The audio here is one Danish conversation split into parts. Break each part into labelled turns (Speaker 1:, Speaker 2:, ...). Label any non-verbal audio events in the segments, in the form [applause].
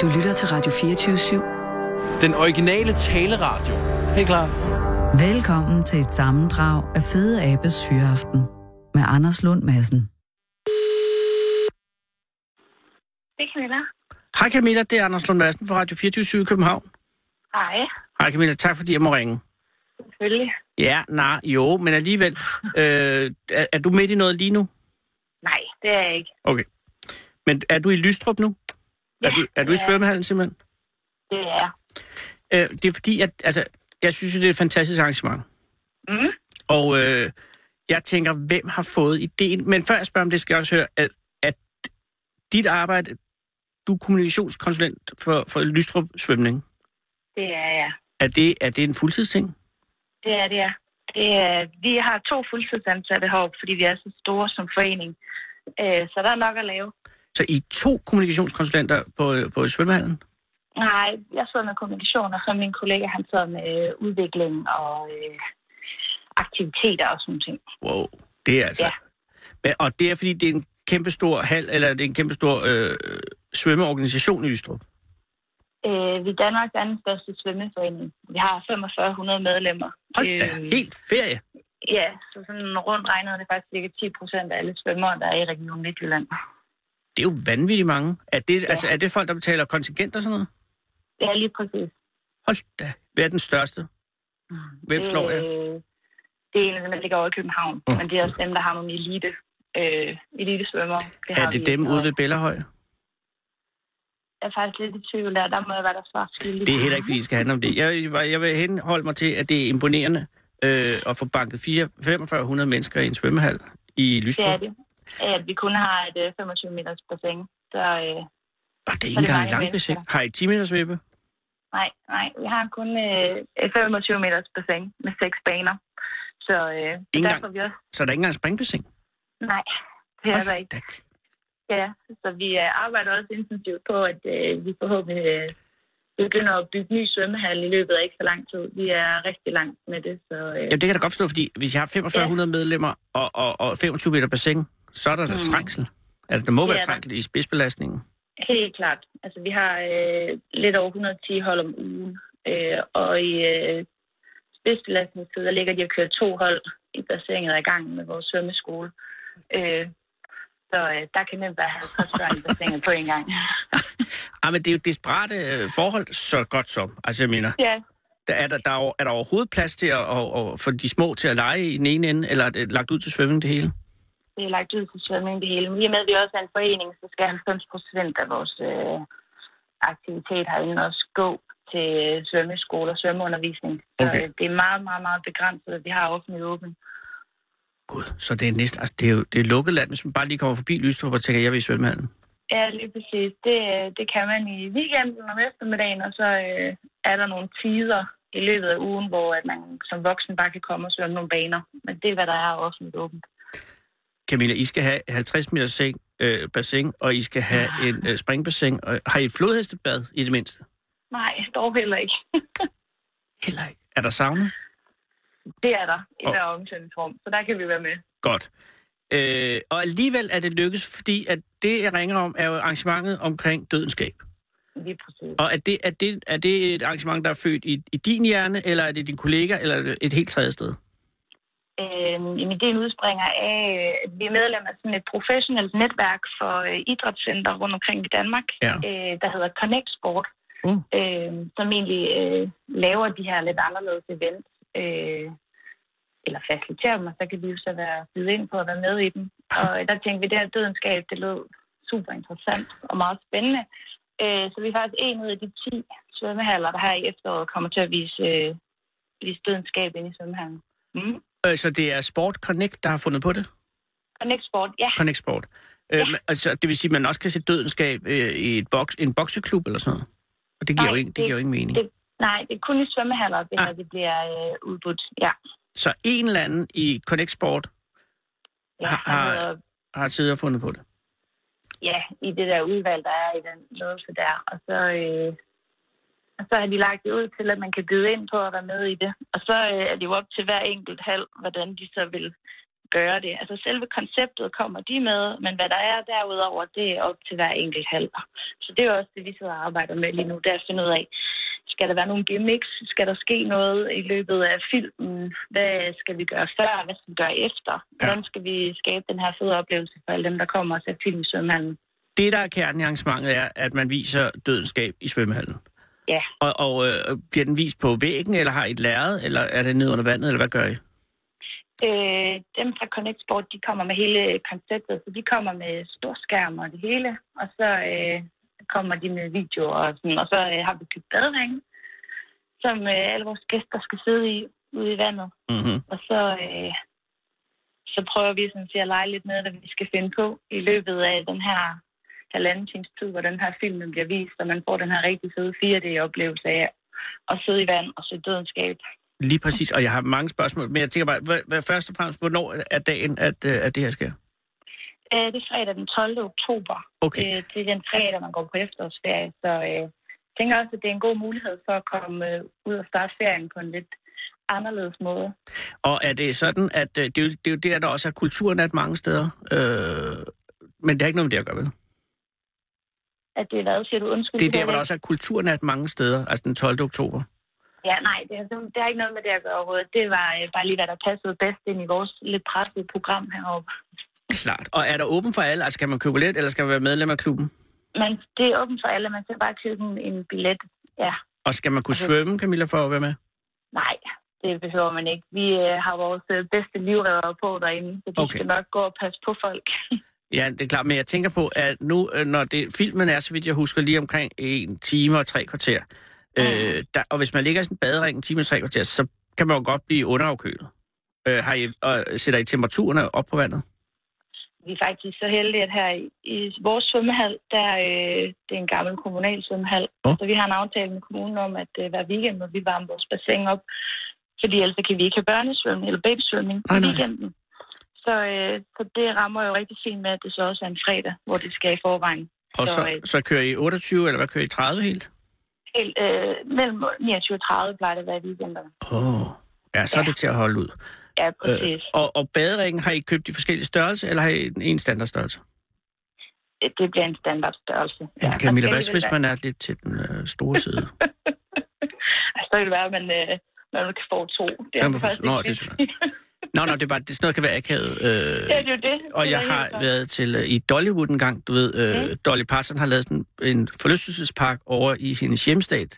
Speaker 1: Du lytter til Radio 24-7.
Speaker 2: Den originale taleradio. Helt klar.
Speaker 1: Velkommen til et sammendrag af Fede Abes Hyreaften med Anders Lund Madsen.
Speaker 3: Det er Camilla.
Speaker 4: Hej Camilla, det er Anders Lund Madsen fra Radio 24 i København.
Speaker 3: Hej,
Speaker 4: Hej Camilla, tak fordi jeg må ringe.
Speaker 3: selvfølgelig.
Speaker 4: Ja, nej, jo, men alligevel. Øh, er, er du midt i noget lige nu?
Speaker 3: Nej, det er jeg ikke.
Speaker 4: Okay. Men er du i Lystrup nu? Er du, er du i
Speaker 3: Ja.
Speaker 4: svømmehallen simpelthen?
Speaker 3: Det er jeg.
Speaker 4: Øh, det er fordi, at, altså, jeg synes jo, det er et fantastisk arrangement.
Speaker 3: Mm.
Speaker 4: Og øh, jeg tænker, hvem har fået ideen? Men før jeg spørger om det, skal jeg også høre, at, at dit arbejde, du er kommunikationskonsulent for, for Lystrup Svømning,
Speaker 3: Det er jeg.
Speaker 4: er det, er det en fuldtidsting?
Speaker 3: Det er det, jeg. det er. Vi har to fuldtidsansatte heroppe, fordi vi er så store som forening. Øh, Så der er nok at lave.
Speaker 4: Så I er to kommunikationskonsulenter på, på svømmehallen?
Speaker 3: Nej, jeg sidder med kommunikation, og så min kollega, han sidder med udvikling og øh, aktiviteter og sådan ting.
Speaker 4: Wow, det er altså...
Speaker 3: Ja.
Speaker 4: Men, og det er, fordi det er en kæmpe stor hal, eller det er en kæmpe stor øh, svømmeorganisation i Ystrup.
Speaker 3: Øh, Vi er Danmarks anden største svømmeforening. Vi har 4500 medlemmer.
Speaker 4: Hold da,
Speaker 3: Øh,
Speaker 4: helt ferie.
Speaker 3: Ja, så sådan rundt regnet er det faktisk cirka 10 procent af alle svømmere, der er i Region Midtjylland.
Speaker 4: Det er jo vanvittigt mange. Er det, ja. altså, er det folk, der betaler kontingent og sådan noget?
Speaker 3: Det er lige præcis.
Speaker 4: Hold da, hvad er den største? Hvem slår jeg?
Speaker 3: Øh, Det er en af dem, der ligger over i København, men det er også dem, der har nogle elite, øh, elite svømmer. Det
Speaker 4: Er det dem ude ved Bellerhøj?
Speaker 3: Jeg er faktisk lidt i tvivl der, der må jeg være der svar skyldig.
Speaker 4: Det er heller ikke, fordi det skal handle om det. Jeg, jeg jeg vil henholde mig til, at det er imponerende øh, at få banket 4 4500 mennesker i en svømmehal i
Speaker 3: Det er
Speaker 4: Lystrup.
Speaker 3: det. At vi kun har et øh, 25 meters bassin. Så øh,
Speaker 4: Og det er ikke
Speaker 3: mange
Speaker 4: engang langt,
Speaker 3: mennesker.
Speaker 4: ikke? Har I 10 meters vippe?
Speaker 3: nej, nej, vi har kun øh, et 25 meters bassin med seks baner. Så øh, det er
Speaker 4: Ingen
Speaker 3: derfor
Speaker 4: gang.
Speaker 3: vi også...
Speaker 4: Så er der ikke engang springbassin?
Speaker 3: Nej, det er der ikke.
Speaker 4: Da
Speaker 3: Ja, så vi øh, arbejder også intensivt på, at øh, vi forhåbentlig øh, begynder at bygge ny svømmehal i løbet af ikke så lang tid. Vi er rigtig langt med det, så øh,
Speaker 4: Jamen, det kan jeg da godt forstå, fordi hvis jeg har 4500 ja. medlemmer og, og, og 25 meter bassin, så er der da
Speaker 3: Mm.
Speaker 4: trængsel. Altså, der må
Speaker 3: Det
Speaker 4: være
Speaker 3: er der.
Speaker 4: trængsel i spidsbelastningen.
Speaker 3: helt klart. Altså, vi har øh, lidt over 110 hold om ugen, øh, og i øh, spidsbelastningstid, der ligger de og kører to hold i bassinet ad gangen med vores svømmeskole. Øh, så øh, der kan nemt være 50 børn i bassinet på en gang.
Speaker 4: Ah, men det er jo desperate øh, forhold, så godt som. Altså, jeg mener,
Speaker 3: Ja,
Speaker 4: der er, der, der er, er der overhovedet plads til at, at, at få de små til at lege i den ene ende, eller er det lagt ud til svømning det hele?
Speaker 3: det er lagt ud til svømning det hele. Men i og med, at vi også er en forening, så skal 90 procent af vores øh, aktivitet herinde også gå til øh, svømmeskole og svømmeundervisning. Så
Speaker 4: Okay.
Speaker 3: øh, det er meget, meget, meget begrænset, at vi har offentligt åbent.
Speaker 4: Gud, så det er næsten, altså, det er jo det er lukket land, hvis man bare lige kommer forbi Lystrup og tænker, jeg vil i svømmehallen.
Speaker 3: Ja, lige præcis. Det, øh, det kan man i weekenden om eftermiddagen, og så øh, er der nogle tider i løbet af ugen, hvor at man som voksen bare kan komme og svømme nogle baner. Men det er, hvad der er offentligt åbent.
Speaker 4: Camilla, I skal have 50 meter seng, øh, bassin, og I skal have ja. en øh, springbassin. Og, har I et flodhestebad i det mindste?
Speaker 3: Nej, dog heller ikke.
Speaker 4: Heller ikke. Er der sauna?
Speaker 3: Det er der i
Speaker 4: Og-
Speaker 3: hver omklædningsrum, så der kan vi være med.
Speaker 4: Godt. Øh, og alligevel er det lykkes, fordi at det, jeg ringer om, er jo arrangementet omkring dødenskab.
Speaker 3: Lige præcis.
Speaker 4: Og er det, er det, er det et arrangement, der er født i, i din hjerne, eller er det din kollega, eller er det et helt tredje sted?
Speaker 3: Øh, jamen, det er en udspringer af, øh, at vi er medlem af sådan et professionelt netværk for øh, idrætscenter rundt omkring i Danmark,
Speaker 4: Ja.
Speaker 3: øh, der hedder Connect Sport,
Speaker 4: Mm.
Speaker 3: øh, som egentlig øh, laver de her lidt anderledes events, øh, eller faciliterer dem, og så kan vi jo så være byde ind på at være med i dem. Og der tænkte vi, det her dødenskab, det lød super interessant og meget spændende. Øh, så vi er faktisk en ud af de 10 svømmehaller, der her i efteråret kommer til at vise, øh, vise dødenskab ind i svømmehallen. Mm.
Speaker 4: Øh, så det er Sport Connect, der har fundet på det?
Speaker 3: Connect Sport, ja,
Speaker 4: Connect Sport. Øh, men altså, det vil sige, at man også kan se dødenskab øh, i et boks, en bokseklub eller sådan noget? Og det giver,
Speaker 3: Nej,
Speaker 4: jo, ikke, det
Speaker 3: det-
Speaker 4: giver jo ingen mening.
Speaker 3: det, nej, det er kun i svømmehaller, det her,
Speaker 4: Ah.
Speaker 3: det bliver øh, udbudt. Ja,
Speaker 4: Så en eller anden i Connect Sport
Speaker 3: ja,
Speaker 4: Har-
Speaker 3: han
Speaker 4: har-
Speaker 3: hedder-
Speaker 4: har siddet og fundet på det.
Speaker 3: ja, i det der udvalg, der er i den ledelse der. Og så, øh, og så har de lagt det ud til, at man kan byde ind på at være med i det. Og så øh, er det jo op til hver enkelt halv, hvordan de så vil gøre det. Altså selve konceptet kommer de med, men hvad der er derudover, det er op til hver enkelt halver. Så det er jo også det, vi sidder og arbejder med lige nu, det er at finde ud af, skal der være nogle gimmicks? Skal der ske noget i løbet af filmen? Hvad skal vi gøre før? Hvad skal vi gøre efter? Hvordan skal vi skabe den her fede oplevelse for alle dem, der kommer og ser film i svømmehallen?
Speaker 4: Det, der er kernen i arrangementet, er, at man viser dødenskab i svømmehallen.
Speaker 3: Ja,
Speaker 4: Og, og øh, bliver den vist på væggen, eller har I et lærred, eller er det ned under vandet, eller hvad gør I?
Speaker 3: Øh, dem fra Connect Sport, de kommer med hele konceptet, så de kommer med stor skærm og det hele, og så øh, kommer de med videoer og sådan, og så øh, har vi købt baderinge, som øh, alle vores gæster skal sidde i ude i vandet,
Speaker 4: Mm-hmm.
Speaker 3: og så, øh, så prøver vi sådan set at lege lidt med, hvad vi skal finde på i løbet af den her halvanden times tid, hvor den her film den bliver vist, og man får den her rigtig fede 4D-oplevelse af at sidde i vand og se dødenskab.
Speaker 4: Lige præcis, og jeg har mange spørgsmål, men jeg tænker bare, hvad, hvad, først og fremmest, hvornår er dagen, at, øh, at det her sker?
Speaker 3: Øh, det er fredag den 12. oktober.
Speaker 4: Okay.
Speaker 3: Øh, det er den fredag, man går på efterårsferie, så øh, jeg tænker også, at det er en god mulighed for at komme øh, ud og starte ferien på en lidt anderledes måde.
Speaker 4: Og er det sådan, at øh, det, er jo, det er jo der, der også er kulturnat mange steder, øh, men det har ikke noget med det at gøre, vel?
Speaker 3: At det er hvad, siger du? Undskyld.
Speaker 4: Det er der, hvor der
Speaker 3: hvad?
Speaker 4: også er kulturnat mange steder, altså den 12. oktober.
Speaker 3: Ja, nej, det, er, det har ikke noget med det at gøre overhovedet. Det var øh, bare lige, hvad der passede bedst ind i vores lidt pressede program heroppe.
Speaker 4: Klart. Og er der åben for alle? Altså kan man købe billet, eller skal man være medlem af klubben?
Speaker 3: Men det er åbent for alle. Man skal bare købe en, en billet. Ja,
Speaker 4: Og skal man kunne
Speaker 3: Okay.
Speaker 4: svømme, Camilla, for at være med?
Speaker 3: nej, det behøver man ikke. Vi øh, har vores øh, bedste livredder på derinde, så de
Speaker 4: Okay.
Speaker 3: okay. skal nok gå og passe på folk.
Speaker 4: Ja, det er klart, men jeg tænker på, at nu, øh, når det, filmen er, så vidt jeg husker, lige omkring en time og tre kvarter, øh, der, og hvis man ligger i sådan en badering en time og tre kvarter, så kan man jo godt blive underafkølet. Øh, har I, og sætter I temperaturerne op på vandet?
Speaker 3: vi er faktisk så heldige, at her i, i vores svømmehal, der øh, det er en gammel kommunal svømmehal,
Speaker 4: Nå.
Speaker 3: så vi har en aftale med kommunen om, at øh, hver weekend må vi varme vores bassin op, fordi ellers så kan vi ikke have børnesvømning eller babysvømning i
Speaker 4: Nej, nej.
Speaker 3: weekenden. Så, øh, så det rammer jo rigtig fint med, at det så også er en fredag, hvor det skal i forvejen.
Speaker 4: Og så,
Speaker 3: Sorry.
Speaker 4: så kører I 28, eller hvad kører I 30 helt?
Speaker 3: Helt, øh, mellem 29 og 30 plejer det at være i weekenderne.
Speaker 4: Åh, oh. ja, så er det til at holde ud.
Speaker 3: Ja, præcis.
Speaker 4: og, og baderingen, har I købt i forskellige størrelser, eller har I en- en standardstørrelse?
Speaker 3: Øh. Det bliver en standardstørrelse.
Speaker 4: Ja,
Speaker 3: man
Speaker 4: Camilla,
Speaker 3: skal
Speaker 4: hvad hvis
Speaker 3: alligevel-
Speaker 4: man er lidt til den øh, store side?
Speaker 3: [laughs] Altså, så vil det være, at man, øh, man kan få to. Det
Speaker 4: Så kan man få-
Speaker 3: faktisk
Speaker 4: Nå,
Speaker 3: ikke
Speaker 4: det er
Speaker 3: fedt.
Speaker 4: Nå, nå, det er bare, det, sådan noget kan være akavet. Øh,
Speaker 3: Ja, det er jo det.
Speaker 4: Og
Speaker 3: Det er
Speaker 4: jeg
Speaker 3: helt
Speaker 4: har
Speaker 3: klart.
Speaker 4: været til øh, i Dollywood en gang, du ved, øh,
Speaker 3: Mm.
Speaker 4: Dolly Parton har lavet sådan en forlystelsespark over i hendes hjemstat,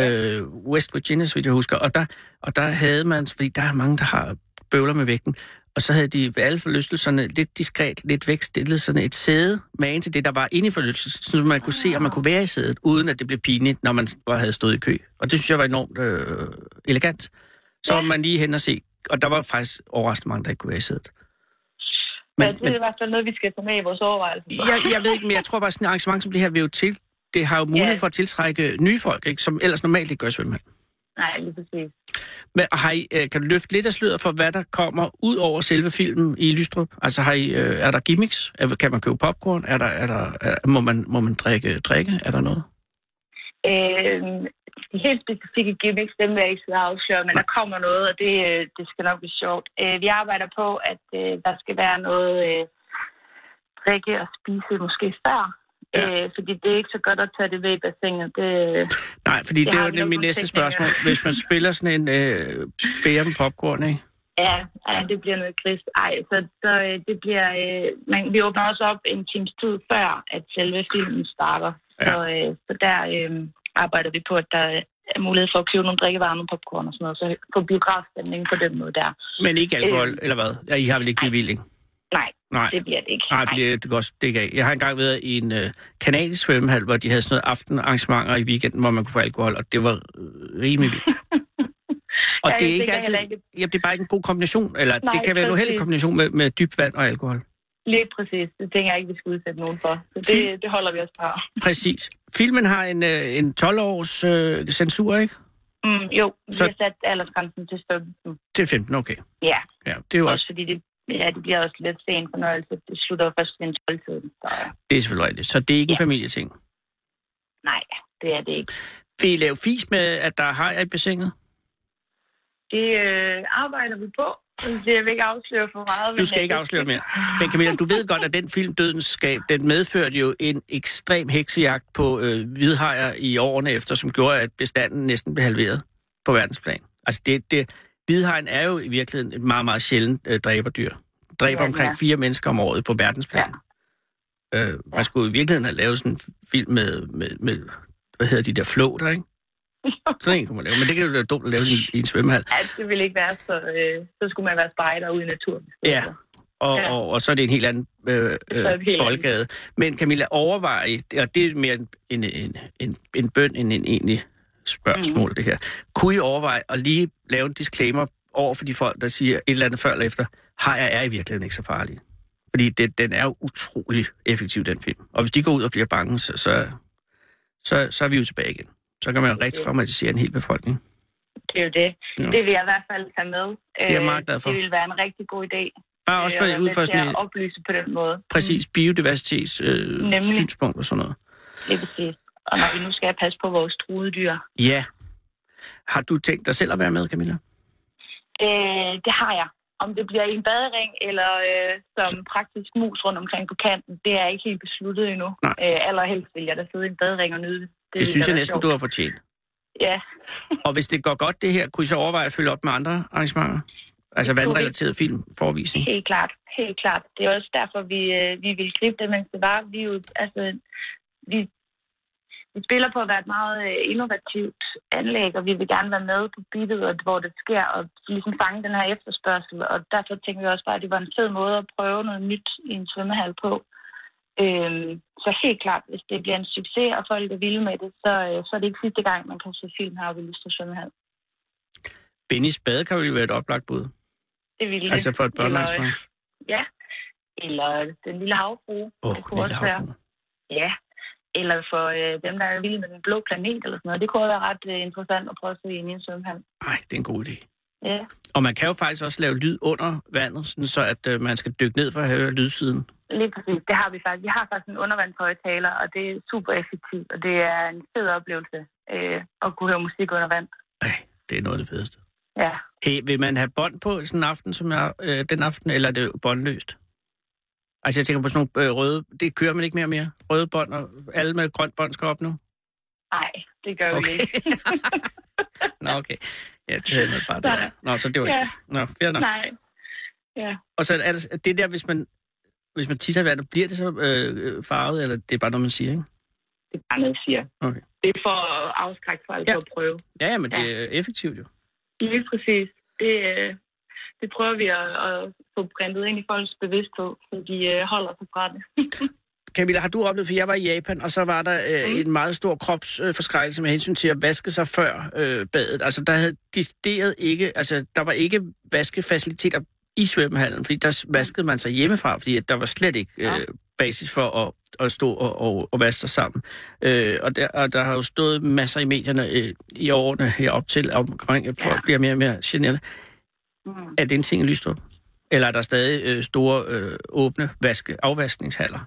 Speaker 4: øh, West Virginia, så vidt jeg husker, og der, og der havde man, fordi der er mange, der har bøvler med vægten, og så havde de ved alle forlystelserne lidt diskret, lidt væk stillet sådan et sæde magen til det, der var inde i forlystelsen, så man kunne se, om man kunne være i sædet, uden at det blev pinligt, når man var- havde stået i kø. Og det synes jeg var enormt øh, elegant. Så var man lige hen og se, og der var faktisk overraskende mange, der ikke kunne være i sædet.
Speaker 3: Men, ja, det er i hvert fald noget, vi skal tage med i vores overvejelser.
Speaker 4: jeg, jeg ved ikke, men jeg tror bare, sådan et arrangement som det her vil jo til, det har jo mulighed
Speaker 3: Ja.
Speaker 4: for at tiltrække nye folk, ikke, som ellers normalt ikke gør i svømmehallen.
Speaker 3: Nej, lige præcis.
Speaker 4: Men har I, øh, kan du løfte lidt af sløret for, hvad der kommer ud over selve filmen i Lystrup? Altså har I, øh, er der gimmicks? Er- Kan man købe popcorn? Er der, er der, er, må, man, må man drikke drikke? Er der noget?
Speaker 3: Øh, de helt specifikke gimmicks, dem vil jeg ikke sidde og afsløre, men der kommer noget, og det, øh, det skal nok blive sjovt. Øh, vi arbejder på, at øh, der skal være noget øh, drikke og spise måske før.
Speaker 4: Ja.
Speaker 3: Ja. Øh, fordi det er ikke så godt at tage det ved i bassinet. Det, øh,
Speaker 4: Nej, fordi
Speaker 3: Det
Speaker 4: det, det er
Speaker 3: har
Speaker 4: jo
Speaker 3: vi
Speaker 4: nemlig
Speaker 3: nogle
Speaker 4: næste
Speaker 3: forsikringer.
Speaker 4: spørgsmål. Hvis man spiller sådan en øh, bære med popcorn, ikke?
Speaker 3: ja, ja, det bliver noget gris. Ej, så, så øh, det bliver... Øh, man, vi åbner også op en times tid før, at selve filmen starter.
Speaker 4: Ja.
Speaker 3: Ja. Så, øh, så der øh, arbejder vi på, at der er mulighed for at købe nogle drikkevarer, nogle popcorn og sådan noget, så på biografstemningen på den måde der.
Speaker 4: men ikke alkohol,
Speaker 3: Øh.
Speaker 4: eller hvad? Ja, I har vel ikke bevilling?
Speaker 3: Nej,
Speaker 4: Nej.
Speaker 3: det bliver det ikke.
Speaker 4: Nej, fordi det går også- det ikke af. Jeg har engang været i en øh, kanadisk svømmehal, hvor de havde sådan noget aftenarrangementer i weekenden, hvor man kunne få alkohol, og det var øh, rimelig vildt.
Speaker 3: [laughs]
Speaker 4: Og
Speaker 3: Ja,
Speaker 4: det
Speaker 3: jeg
Speaker 4: er ikke
Speaker 3: tænker
Speaker 4: altid,
Speaker 3: heller ikke-
Speaker 4: ja, det er bare ikke en god kombination, eller Nej,
Speaker 3: Nej,
Speaker 4: det kan være en uheldig
Speaker 3: præcis.
Speaker 4: kombination med, med dybt vand og alkohol.
Speaker 3: Lige præcis. Det tænker jeg ikke, vi skal udsætte nogen for. Så det, det holder vi os fra.
Speaker 4: Præcis. Filmen har en, øh, en 12-års øh, censur, ikke?
Speaker 3: Mm, jo, vi
Speaker 4: Så-
Speaker 3: har sat aldersgrænsen til 15.
Speaker 4: Til 15, okay.
Speaker 3: Ja,
Speaker 4: Ja, det er jo
Speaker 3: også
Speaker 4: også,
Speaker 3: fordi det, ja, det bliver også lidt sen fornøjelse. Det slutter jo først ved en 12-tiden. Så øh,
Speaker 4: det er selvfølgelig rigtigt. Så det er ikke en
Speaker 3: Ja.
Speaker 4: familieting.
Speaker 3: nej, det er det ikke.
Speaker 4: Vil I lave fis med, at der har jeg i bassinet?
Speaker 3: Det øh, arbejder vi på. Jeg vil ikke afsløre for meget.
Speaker 4: Du skal ikke afsløre mere. Men Camilla, du ved godt, at den film Dødens Skab, den medførte jo en ekstrem heksejagt på øh, hvidhajer i årene efter, som gjorde, at bestanden næsten blev halveret på verdensplan. Altså, det, det, hvidhajen er jo i virkeligheden et meget, meget sjældent øh, dræberdyr. Dræber
Speaker 3: Ja,
Speaker 4: ja, omkring
Speaker 3: ja.
Speaker 4: fire mennesker om året på verdensplan. Ja. Øh, man skulle i virkeligheden have lavet sådan en film med, med, med hvad hedder de der flåter, [laughs] ikke? Sådan en kunne man lave, men det kan jo være dumt at lave i en, i en svømmehal.
Speaker 3: Ja, det ville ikke være, så, øh, så skulle man være spejder ude i naturen. Altså,
Speaker 4: Ja, og,
Speaker 3: Ja.
Speaker 4: og, og så er det en helt anden øh,
Speaker 3: er det
Speaker 4: øh,
Speaker 3: helt andet.
Speaker 4: boldgade. Men Camilla, overvej, I- og det er mere en, en, en, en, en bøn end en egentlig spørgsmål, mm. det her. Kunne I overveje at lige lave en disclaimer over for de folk, der siger et eller andet før eller efter, har jeg er i virkeligheden ikke så farlig? Fordi det, den er jo utrolig effektiv, den film. Og hvis de går ud og bliver bange, så, så, så, så er vi jo tilbage igen. Så kan man jo rigtig traumatisere en hel befolkning.
Speaker 3: Det er jo det.
Speaker 4: Ja.
Speaker 3: Det vil jeg i hvert fald tage med.
Speaker 4: er jeg meget glad for.
Speaker 3: Øh, Det ville være en rigtig god idé.
Speaker 4: Bare også
Speaker 3: øh,
Speaker 4: for,
Speaker 3: at være
Speaker 4: ud
Speaker 3: med
Speaker 4: fra
Speaker 3: til
Speaker 4: sådan
Speaker 3: at
Speaker 4: et
Speaker 3: oplyse på den måde.
Speaker 4: præcis biodiversitets øh,
Speaker 3: Nemlig.
Speaker 4: synspunkt og sådan noget.
Speaker 3: Mm, Lige præcis. Og når vi nu skal passe på vores truede dyr.
Speaker 4: Ja. Har du tænkt dig selv at være med, Camilla?
Speaker 3: Øh, det har jeg. Om det bliver i en badering eller øh, som praktisk mus rundt omkring på kanten, det er jeg ikke helt besluttet endnu.
Speaker 4: Nej.
Speaker 3: Øh, allerhelst vil jeg da sidde i en badering og nyde det.
Speaker 4: Det,
Speaker 3: ville
Speaker 4: det synes
Speaker 3: da
Speaker 4: jeg
Speaker 3: være
Speaker 4: næsten,
Speaker 3: sjovt.
Speaker 4: du har fortjent.
Speaker 3: Ja,
Speaker 4: Og hvis det går godt, det her, kunne I så overveje at følge op med andre arrangementer? Altså
Speaker 3: Det kunne vi.
Speaker 4: vandrelateret film, forvisning.
Speaker 3: helt klart. Helt klart. Det er også derfor, vi, øh, vi vil gribe det, mens det var. Vi, er jo, altså, vi, vi spiller på at være et meget øh, innovativt anlæg, og vi vil gerne være med på beatet, og hvor det sker, og ligesom fange den her efterspørgsel. Og derfor tænker vi også bare, at det var en fed måde at prøve noget nyt i en svømmehal på. Øhm, så helt klart, hvis det bliver en succes, og folk er vilde med det, så, øh, så er det ikke sidste gang, man kan se film her ved Lyster Svømmehal.
Speaker 4: Benny's bade kan jo være et oplagt bud.
Speaker 3: Det ville
Speaker 4: Altså
Speaker 3: det.
Speaker 4: for et børnearrangement.
Speaker 3: Eller, øh, Ja. Eller den lille havfrue.
Speaker 4: Åh,
Speaker 3: Det
Speaker 4: oh,
Speaker 3: kunne
Speaker 4: lille
Speaker 3: også være.
Speaker 4: havfru.
Speaker 3: Ja, eller for øh, dem, der er vilde med den blå planet eller sådan noget. Det kunne også være ret øh, interessant at prøve at se ind i en svømmehal.
Speaker 4: Nej, det er en god idé.
Speaker 3: Ja,
Speaker 4: Og man kan jo faktisk også lave lyd under vandet, sådan så at øh, man skal dykke ned for at høre lydsiden.
Speaker 3: lige præcis. Det har vi faktisk. Vi har faktisk en undervandshøjtaler, og det er super effektivt, og det er en fed oplevelse øh, at kunne høre musik under vand.
Speaker 4: Ej, det er noget af det fedeste.
Speaker 3: Ja,
Speaker 4: Hey, vil man have bånd på sådan en aften, som jeg, øh, den aften, eller er det båndløst? Altså, jeg tænker på sådan nogle øh, røde... Det kører man ikke mere og mere. Røde bånd, og alle med grønt bånd skal op nu.
Speaker 3: nej, det gør vi
Speaker 4: Okay.
Speaker 3: ikke.
Speaker 4: [laughs] Nå, okay. Ja, det havde man bare der.
Speaker 3: Nej.
Speaker 4: Nå, så det var ikke
Speaker 3: Ja.
Speaker 4: det. Nå, fair nok.
Speaker 3: Nej. Ja.
Speaker 4: Og så er det, det der, hvis man, hvis man tisser i vandet, bliver det så øh, øh, farvet, eller det er bare noget, man siger, ikke?
Speaker 3: Det er bare noget, jeg siger.
Speaker 4: Okay.
Speaker 3: Det er for at afskrække folk
Speaker 4: Ja.
Speaker 3: ja. at prøve.
Speaker 4: Ja, ja, men det er effektivt jo.
Speaker 3: Lige præcis. Det, øh, det prøver vi at, at få printet ind i folks bevidsthed, så de øh, holder sig fra det.
Speaker 4: Camilla, har du oplevet, for jeg var i Japan, og så var der øh,
Speaker 3: Mm.
Speaker 4: en meget stor kropsforskrækkelse øh, med hensyn til at vaske sig før øh, badet. Altså, der havde decideret ikke, altså, der var ikke vaskefaciliteter i svømmehallen, fordi der s- vaskede man sig hjemmefra, fordi at der var slet ikke
Speaker 3: Ja.
Speaker 4: øh, basis for at, at stå og, og, og vaske sig sammen. Øh, og, der, og der har jo stået masser i medierne øh, i årene herop til, omkring, at folk ja.
Speaker 3: Ja.
Speaker 4: bliver mere og mere generelle.
Speaker 3: Mm.
Speaker 4: Er det en ting i Lystrup? Eller er der stadig øh, store, øh, åbne vaske, afvaskningshaller?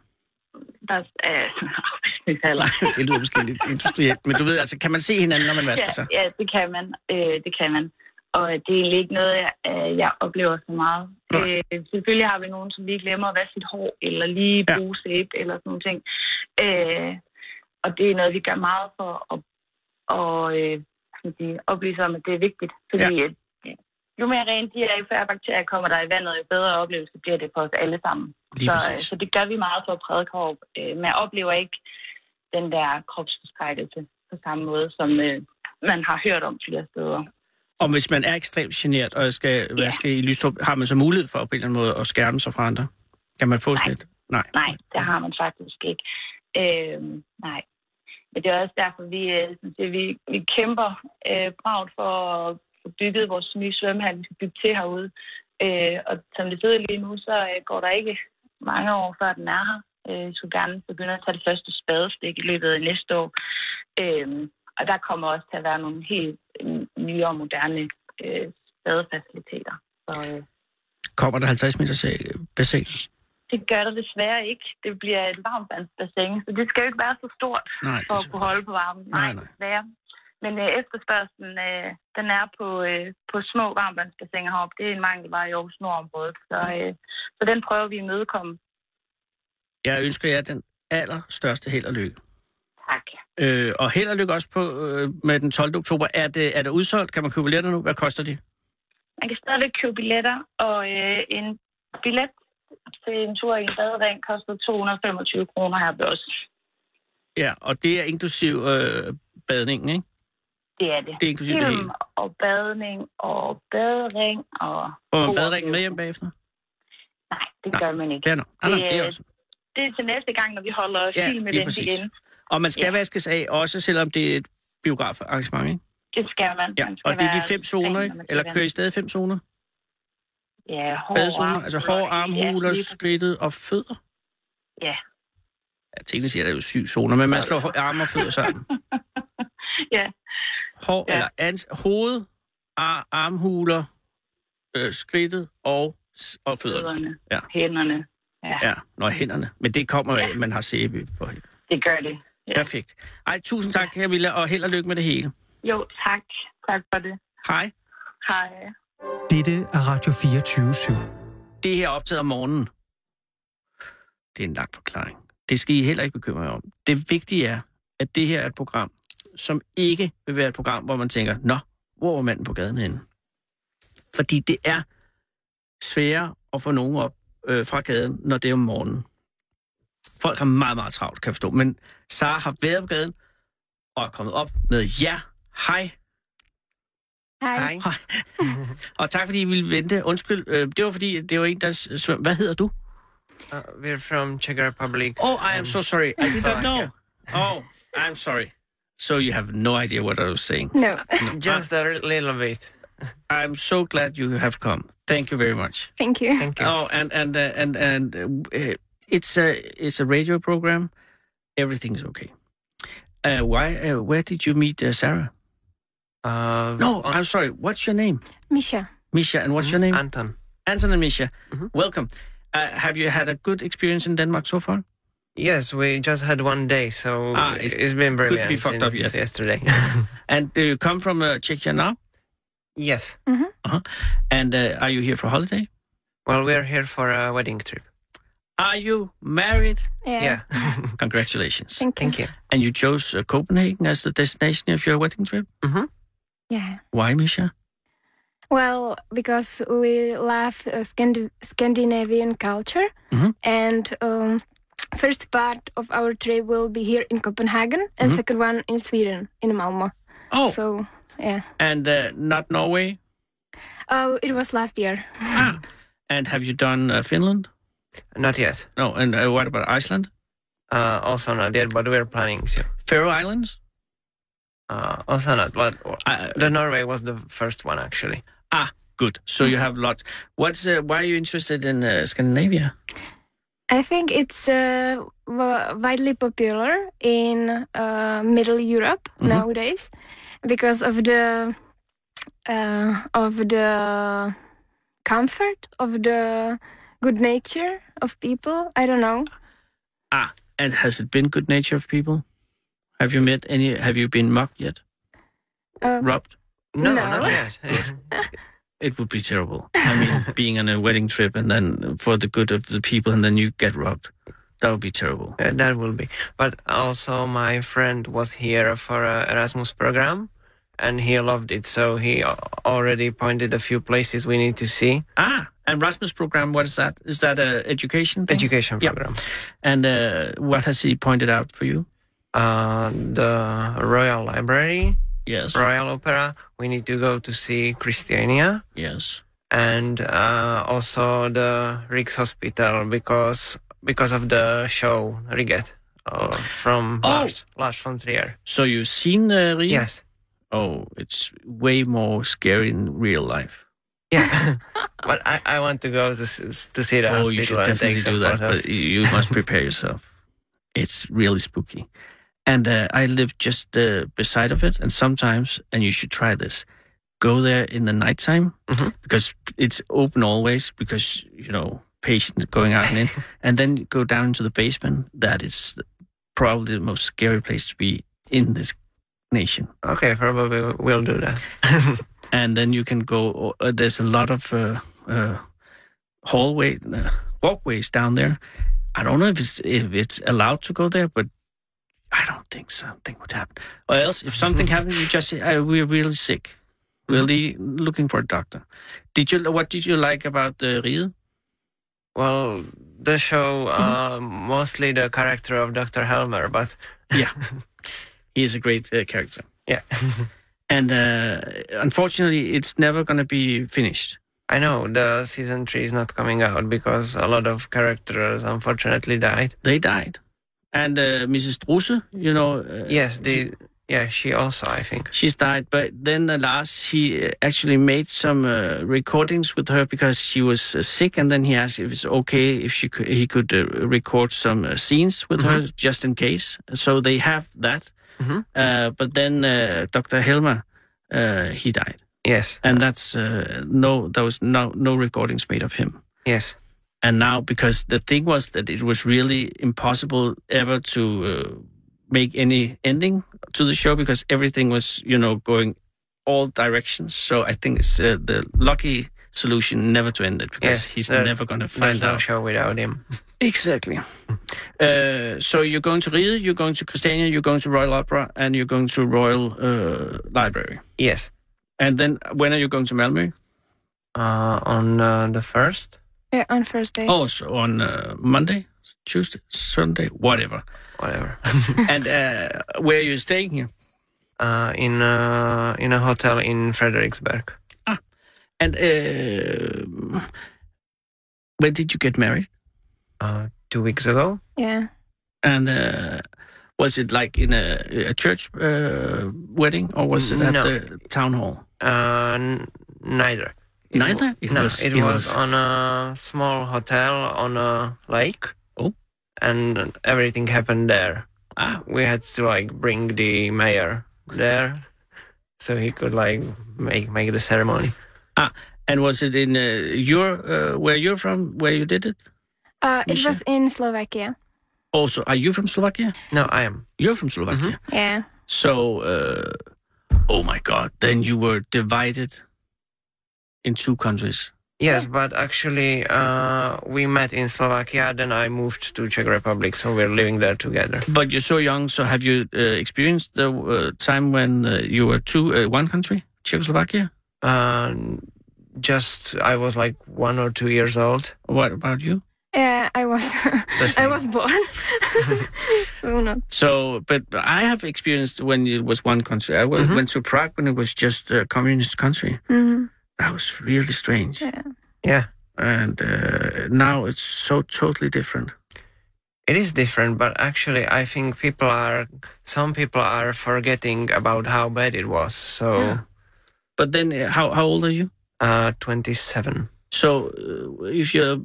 Speaker 3: Der er [laughs] afvisningshaller.
Speaker 4: [laughs] Nej, det lyder måske lidt industrielt, men du ved, altså, kan man se hinanden, når man vasker
Speaker 3: Ja,
Speaker 4: sig?
Speaker 3: ja, det kan man. Øh, det kan man. Og øh, det er egentlig ikke noget, jeg, øh, jeg oplever så meget.
Speaker 4: Nej.
Speaker 3: Øh, selvfølgelig har vi nogen, som lige glemmer at vaske sit hår, eller lige
Speaker 4: Ja.
Speaker 3: bruge sæbe, eller sådan nogle ting. Øh, og det er noget, vi gør meget for at, at øh, hvad skal man sige, oplyse om, at det er vigtigt. Fordi ja. jo mere rent de er, jo færre bakterier kommer der i vandet, jo bedre oplevelse bliver det for os alle sammen.
Speaker 4: Lige
Speaker 3: Så, øh,
Speaker 4: præcis.
Speaker 3: så det gør vi meget for at prædike Hårup. Øh, men jeg oplever ikke den der kropsforskrækkelse på samme måde, som øh, man har hørt om flere steder.
Speaker 4: Og hvis man er ekstremt generet og skal
Speaker 3: Ja.
Speaker 4: vaske i Lystrup, har man så mulighed for på en eller anden måde at skærme sig fra andre? Kan man få sådan
Speaker 3: Nej.
Speaker 4: et? Nej.
Speaker 3: Nej, det har man faktisk ikke. Øh, nej. Men det er også derfor, vi, øh, sådan set, vi, vi kæmper øh, bragt for at få bygget vores nye svømmehal, vi skal bygge til herude. Øh, og som det sidder lige nu, så øh, går der ikke mange år, før den er her. Øh, vi skulle gerne begynde at tage det første spadestik i løbet af næste år. Øh, og der kommer også til at være nogle helt øh, nye og moderne øh, spadefaciliteter. Så, øh,
Speaker 4: Kommer der 50 meter sag- bassin?
Speaker 3: det gør der desværre ikke. Det bliver et varmtvandsbassin, så det skal jo ikke være så stort
Speaker 4: Nej, det
Speaker 3: for at
Speaker 4: er
Speaker 3: kunne
Speaker 4: selvfølgelig-
Speaker 3: holde på varmen.
Speaker 4: Nej,
Speaker 3: Nej,
Speaker 4: nej.
Speaker 3: desværre. Men øh, efterspørgselen, øh, den er på, øh, på små varmvandsbassiner heroppe. Det er en mangelvare i Aarhus Nordområdet, så, øh, så den prøver vi at imødekomme.
Speaker 4: Jeg ønsker jer den allerstørste held og lykke.
Speaker 3: Tak.
Speaker 4: Øh, og held og lykke også på, øh, med den 12. oktober. Er det, er det udsolgt? Kan man købe billetter nu? Hvad koster de?
Speaker 3: Man kan stadigvæk købe billetter, og øh, en billet til en tur i en badering koster 225 kroner her ved os.
Speaker 4: Ja, og det er inklusiv øh, badningen, ikke?
Speaker 3: Det er det.
Speaker 4: Det er inklusive det hele.
Speaker 3: og badning og badring og...
Speaker 4: Får man
Speaker 3: god
Speaker 4: badringen med hjem
Speaker 3: oplevelse.
Speaker 4: bagefter?
Speaker 3: Nej, det
Speaker 4: Nej,
Speaker 3: gør man ikke.
Speaker 4: Ja, no. Ah, no, det er
Speaker 3: øh,
Speaker 4: også.
Speaker 3: Det er til næste gang, når vi holder
Speaker 4: Ja,
Speaker 3: ja, film med
Speaker 4: lige
Speaker 3: den
Speaker 4: præcis.
Speaker 3: igen.
Speaker 4: Og man skal
Speaker 3: ja.
Speaker 4: vaskes af, også selvom det er et biografarrangement, ikke?
Speaker 3: Det skal man.
Speaker 4: Ja,
Speaker 3: man skal
Speaker 4: og det er de
Speaker 3: være
Speaker 4: fem
Speaker 3: ren,
Speaker 4: zoner,
Speaker 3: når
Speaker 4: ikke?
Speaker 3: man
Speaker 4: Eller
Speaker 3: skal
Speaker 4: kører I stadig fem zoner?
Speaker 3: vende. Ja, hår,
Speaker 4: Badezoner, altså hår, armhuler,
Speaker 3: Ja,
Speaker 4: ja,
Speaker 3: lige præcis.
Speaker 4: skridtet og fødder?
Speaker 3: Ja.
Speaker 4: Ja, teknisk set er der jo syv zoner, men man slår hår- arme og fødder sammen.
Speaker 3: [laughs] ja,
Speaker 4: Hår, ja.
Speaker 3: Ja.
Speaker 4: eller ans- hoved, ar- armhuler, øh, skridtet og, s- og fødderne.
Speaker 3: fødderne,
Speaker 4: Ja.
Speaker 3: ja. hænderne. Ja, ja,
Speaker 4: Ja, når hænderne. Men det kommer af,
Speaker 3: Ja.
Speaker 4: at man har sæbe på hænderne.
Speaker 3: det gør det. Ja.
Speaker 4: Perfekt. Ej, tusind tak, Camilla, og held og lykke med det hele.
Speaker 3: Jo, tak. Tak for det.
Speaker 4: Hej.
Speaker 3: Hej.
Speaker 5: Dette er Radio 24 /7.
Speaker 4: det her er optaget om morgenen. Det er en lang forklaring. Det skal I heller ikke bekymre jer om. Det vigtige er, at det her er et program, som ikke vil være et program, hvor man tænker, nå, hvor var manden på gaden henne? Fordi det er sværere at få nogen op øh, fra gaden, når det er om morgenen. Folk har meget, meget travlt, kan jeg forstå. Men Sara har været på gaden og er kommet op med ja, hej.
Speaker 6: Hej.
Speaker 4: Hej. og tak fordi I ville vente. Undskyld, øh, det var fordi, det var en, der s- svøm. Hvad hedder du?
Speaker 7: Uh, we're from Czech Republic.
Speaker 4: Oh, I am so sorry. I did not know.
Speaker 7: Slovakia.
Speaker 4: Oh, I'm sorry. So you have no idea what I was saying.
Speaker 6: No. [laughs]
Speaker 7: Just a little bit.
Speaker 4: I'm so glad you have come. Thank you very much.
Speaker 6: Thank you.
Speaker 7: Thank you.
Speaker 4: Oh, and and uh, and and uh, it's a it's a radio program. Everything's okay. Uh, why? Uh, where did you meet uh, Sarah?
Speaker 7: Uh,
Speaker 4: No,
Speaker 7: An-
Speaker 4: I'm sorry. What's your name?
Speaker 6: Misha.
Speaker 4: Misha, and what's your name?
Speaker 7: Anton.
Speaker 4: Anton Mm-hmm. and Mm-hmm. Misha. Welcome. Uh, have you had a good experience in Denmark so far?
Speaker 7: Yes, we just had one day, so
Speaker 4: Ah, it's-
Speaker 7: it's, it's been
Speaker 4: could be
Speaker 7: brilliant
Speaker 4: fucked up,
Speaker 7: since
Speaker 4: yes. [laughs]
Speaker 7: yesterday.
Speaker 4: And do you come from uh, Czechia now?
Speaker 7: yes.
Speaker 4: And uh, are you here for holiday?
Speaker 7: Well, we're here for a wedding trip.
Speaker 4: Are you married?
Speaker 6: Yeah.
Speaker 7: Yeah. [laughs]
Speaker 4: Congratulations.
Speaker 6: Mm-hmm. Thank you.
Speaker 7: Thank you.
Speaker 4: And you chose uh, Copenhagen as the destination of your wedding trip?
Speaker 7: Mm-hmm.
Speaker 6: Yeah.
Speaker 4: Why, Misha?
Speaker 6: Well, because we love uh, Scandi- Scandinavian culture,
Speaker 4: Mhm.
Speaker 6: and um, first part of our trip will be here in Copenhagen, and second one in Sweden, in Malmo.
Speaker 4: Oh,
Speaker 6: So, yeah.
Speaker 4: and uh, not Norway?
Speaker 6: Oh, it was last year. [laughs]
Speaker 4: ah. And have you done uh, Finland?
Speaker 7: Not yet.
Speaker 4: No, and uh, what about Iceland?
Speaker 7: Uh, also not yet, but we're planning to.
Speaker 4: Faroe Islands?
Speaker 7: Uh, also not, but
Speaker 4: Uh,
Speaker 7: the Norway was the first one actually.
Speaker 4: ah, good. So you have lots. What's uh, Why are you interested in uh, Scandinavia?
Speaker 6: I think it's uh, w- widely popular in uh, Middle Europe
Speaker 7: Mm-hmm.
Speaker 6: nowadays because of the uh, of the comfort of the good nature of people. I don't know.
Speaker 4: Ah, and has it been good nature of people? Have you met any? Have you been mocked yet?
Speaker 6: Uh,
Speaker 4: Robbed?
Speaker 7: No,
Speaker 6: No.
Speaker 4: [laughs]
Speaker 7: not yet.
Speaker 4: It would be terrible. I [laughs] mean, being on a wedding trip and then for the good of the people and then you get robbed. That would be terrible.
Speaker 7: Uh, that will be. But also, my friend was here for a Erasmus program, and he loved it. So he al- already pointed a few places we need to see.
Speaker 4: Ah, and Rasmus program, what is that? Is that a education? Thing?
Speaker 7: Education
Speaker 4: Yeah.
Speaker 7: program.
Speaker 4: And uh, what has he pointed out for you?
Speaker 7: Uh, the Royal Library,
Speaker 4: Yes.
Speaker 7: Royal Opera. We need to go to see Christiania
Speaker 4: Yes.
Speaker 7: and uh, also the Riggs Hospital because because of the show Riget uh, from
Speaker 4: Oh.
Speaker 7: Lars Lars von Trier.
Speaker 4: So you've seen uh, Rio?
Speaker 7: Yes.
Speaker 4: Oh, it's way more scary in real life.
Speaker 7: Yeah, [laughs] but I, I want to go to, s- to see the
Speaker 4: oh,
Speaker 7: hospital
Speaker 4: you should
Speaker 7: and
Speaker 4: definitely
Speaker 7: take some
Speaker 4: do that,
Speaker 7: photos.
Speaker 4: but you you must prepare yourself. It's really spooky. And uh, I live just uh, beside of it, and sometimes, and you should try this, go there in the nighttime
Speaker 7: Mhm.
Speaker 4: because it's open always because, you know, patients going out and in, and then you go down into the basement. That is probably the most scary place to be in this nation.
Speaker 7: Okay, probably we'll do that.
Speaker 4: and then you can go. Uh, there's a lot of uh, uh, hallway uh, walkways down there. I don't know if it's if it's allowed to go there, but I don't think something would happen. Or else, if something happens, you just say uh, we're really sick. We're really looking for a doctor. Did you? What did you like about uh, the Ried?
Speaker 7: Well, the show uh,
Speaker 4: Mm-hmm.
Speaker 7: mostly the character of Dr. Helmer, but
Speaker 4: Yeah, he is a great uh, character,
Speaker 7: yeah,
Speaker 4: and uh, unfortunately, it's never going to be finished.
Speaker 7: I know the season three is not coming out because a lot of characters unfortunately died.
Speaker 4: They died, and uh, Mrs. Drusse, you know, uh,
Speaker 7: Yes, the yeah, she also I think.
Speaker 4: She's died, but then uh, Lars he uh, actually made some uh, recordings with her because she was uh, sick, and then he asked if it's okay if she could, he could uh, record some uh, scenes with her just in case. So they have that.
Speaker 7: Mhm.
Speaker 4: Uh, but then uh, Dr. Helmer uh, he died,
Speaker 7: Yes,
Speaker 4: and that's uh, no there was no no recordings made of him.
Speaker 7: yes,
Speaker 4: And now because the thing was that it was really impossible ever to. Uh, make any ending to the show because everything was you know going all directions so i think it's uh, the lucky solution never to end it because
Speaker 7: yes.
Speaker 4: he's
Speaker 7: there-
Speaker 4: never going to
Speaker 7: There's
Speaker 4: find
Speaker 7: no
Speaker 4: out
Speaker 7: show without him.
Speaker 4: exactly uh, so you're going to Ried, you're going to Christiania, you're going to Royal Opera, and you're going to Royal uh, Library.
Speaker 7: Yes,
Speaker 4: And then when are you going to Malmö?
Speaker 7: uh, on uh, the first
Speaker 6: Yeah, on Thursday.
Speaker 4: Oh, so on uh, Monday, Tuesday, Sunday, whatever. [laughs]
Speaker 7: whatever
Speaker 4: and uh, where are you staying here?
Speaker 7: uh, in uh, in a hotel in Frederiksberg.
Speaker 4: And uh, when did you get married?
Speaker 7: uh, two weeks ago.
Speaker 6: Yeah.
Speaker 4: And uh, was it like in a, a church uh, wedding or was it at
Speaker 7: No.
Speaker 4: the town hall?
Speaker 7: Uh, n- neither. It w-
Speaker 4: Neither? It
Speaker 7: no,
Speaker 4: was-
Speaker 7: it,
Speaker 4: it
Speaker 7: was,
Speaker 4: was-
Speaker 7: on a small hotel on a lake.
Speaker 4: Oh.
Speaker 7: And everything happened there.
Speaker 4: Ah,
Speaker 7: We had to like bring the mayor there,
Speaker 4: [laughs]
Speaker 7: so he could like make make the ceremony.
Speaker 4: ah. And was it in uh, your uh, where you're from, where you did it?
Speaker 6: Uh, it
Speaker 4: Misha.
Speaker 6: was in Slovakia.
Speaker 4: Also, are you from Slovakia?
Speaker 7: No, I am.
Speaker 4: You're from Slovakia.
Speaker 6: Yeah.
Speaker 7: Mm-hmm.
Speaker 4: So, uh, oh my God! Then you were divided in two countries.
Speaker 7: Yes, but actually, uh, we met in Slovakia. Then I moved to Czech Republic, so we're living there together.
Speaker 4: But you're so young. So, have you uh, experienced the uh, time when uh, you were two, uh, one country, Czechoslovakia?
Speaker 7: Uh, just I was like one or two years old.
Speaker 4: What about you?
Speaker 6: Yeah, I was [laughs]
Speaker 7: same.
Speaker 6: I was
Speaker 7: [laughs]
Speaker 6: born. so not.
Speaker 4: So, but I have experienced when it was one country. I was, went to Prague when it was just a communist country.
Speaker 6: Mhm.
Speaker 4: That was really strange.
Speaker 6: Yeah.
Speaker 7: Yeah.
Speaker 4: And uh, now it's so totally different.
Speaker 7: It is different, but actually, I think people are, some people are forgetting about how bad it was. So,
Speaker 4: Yeah. But then, uh, how, how old are you?
Speaker 7: uh, 27.
Speaker 4: So, uh, if you're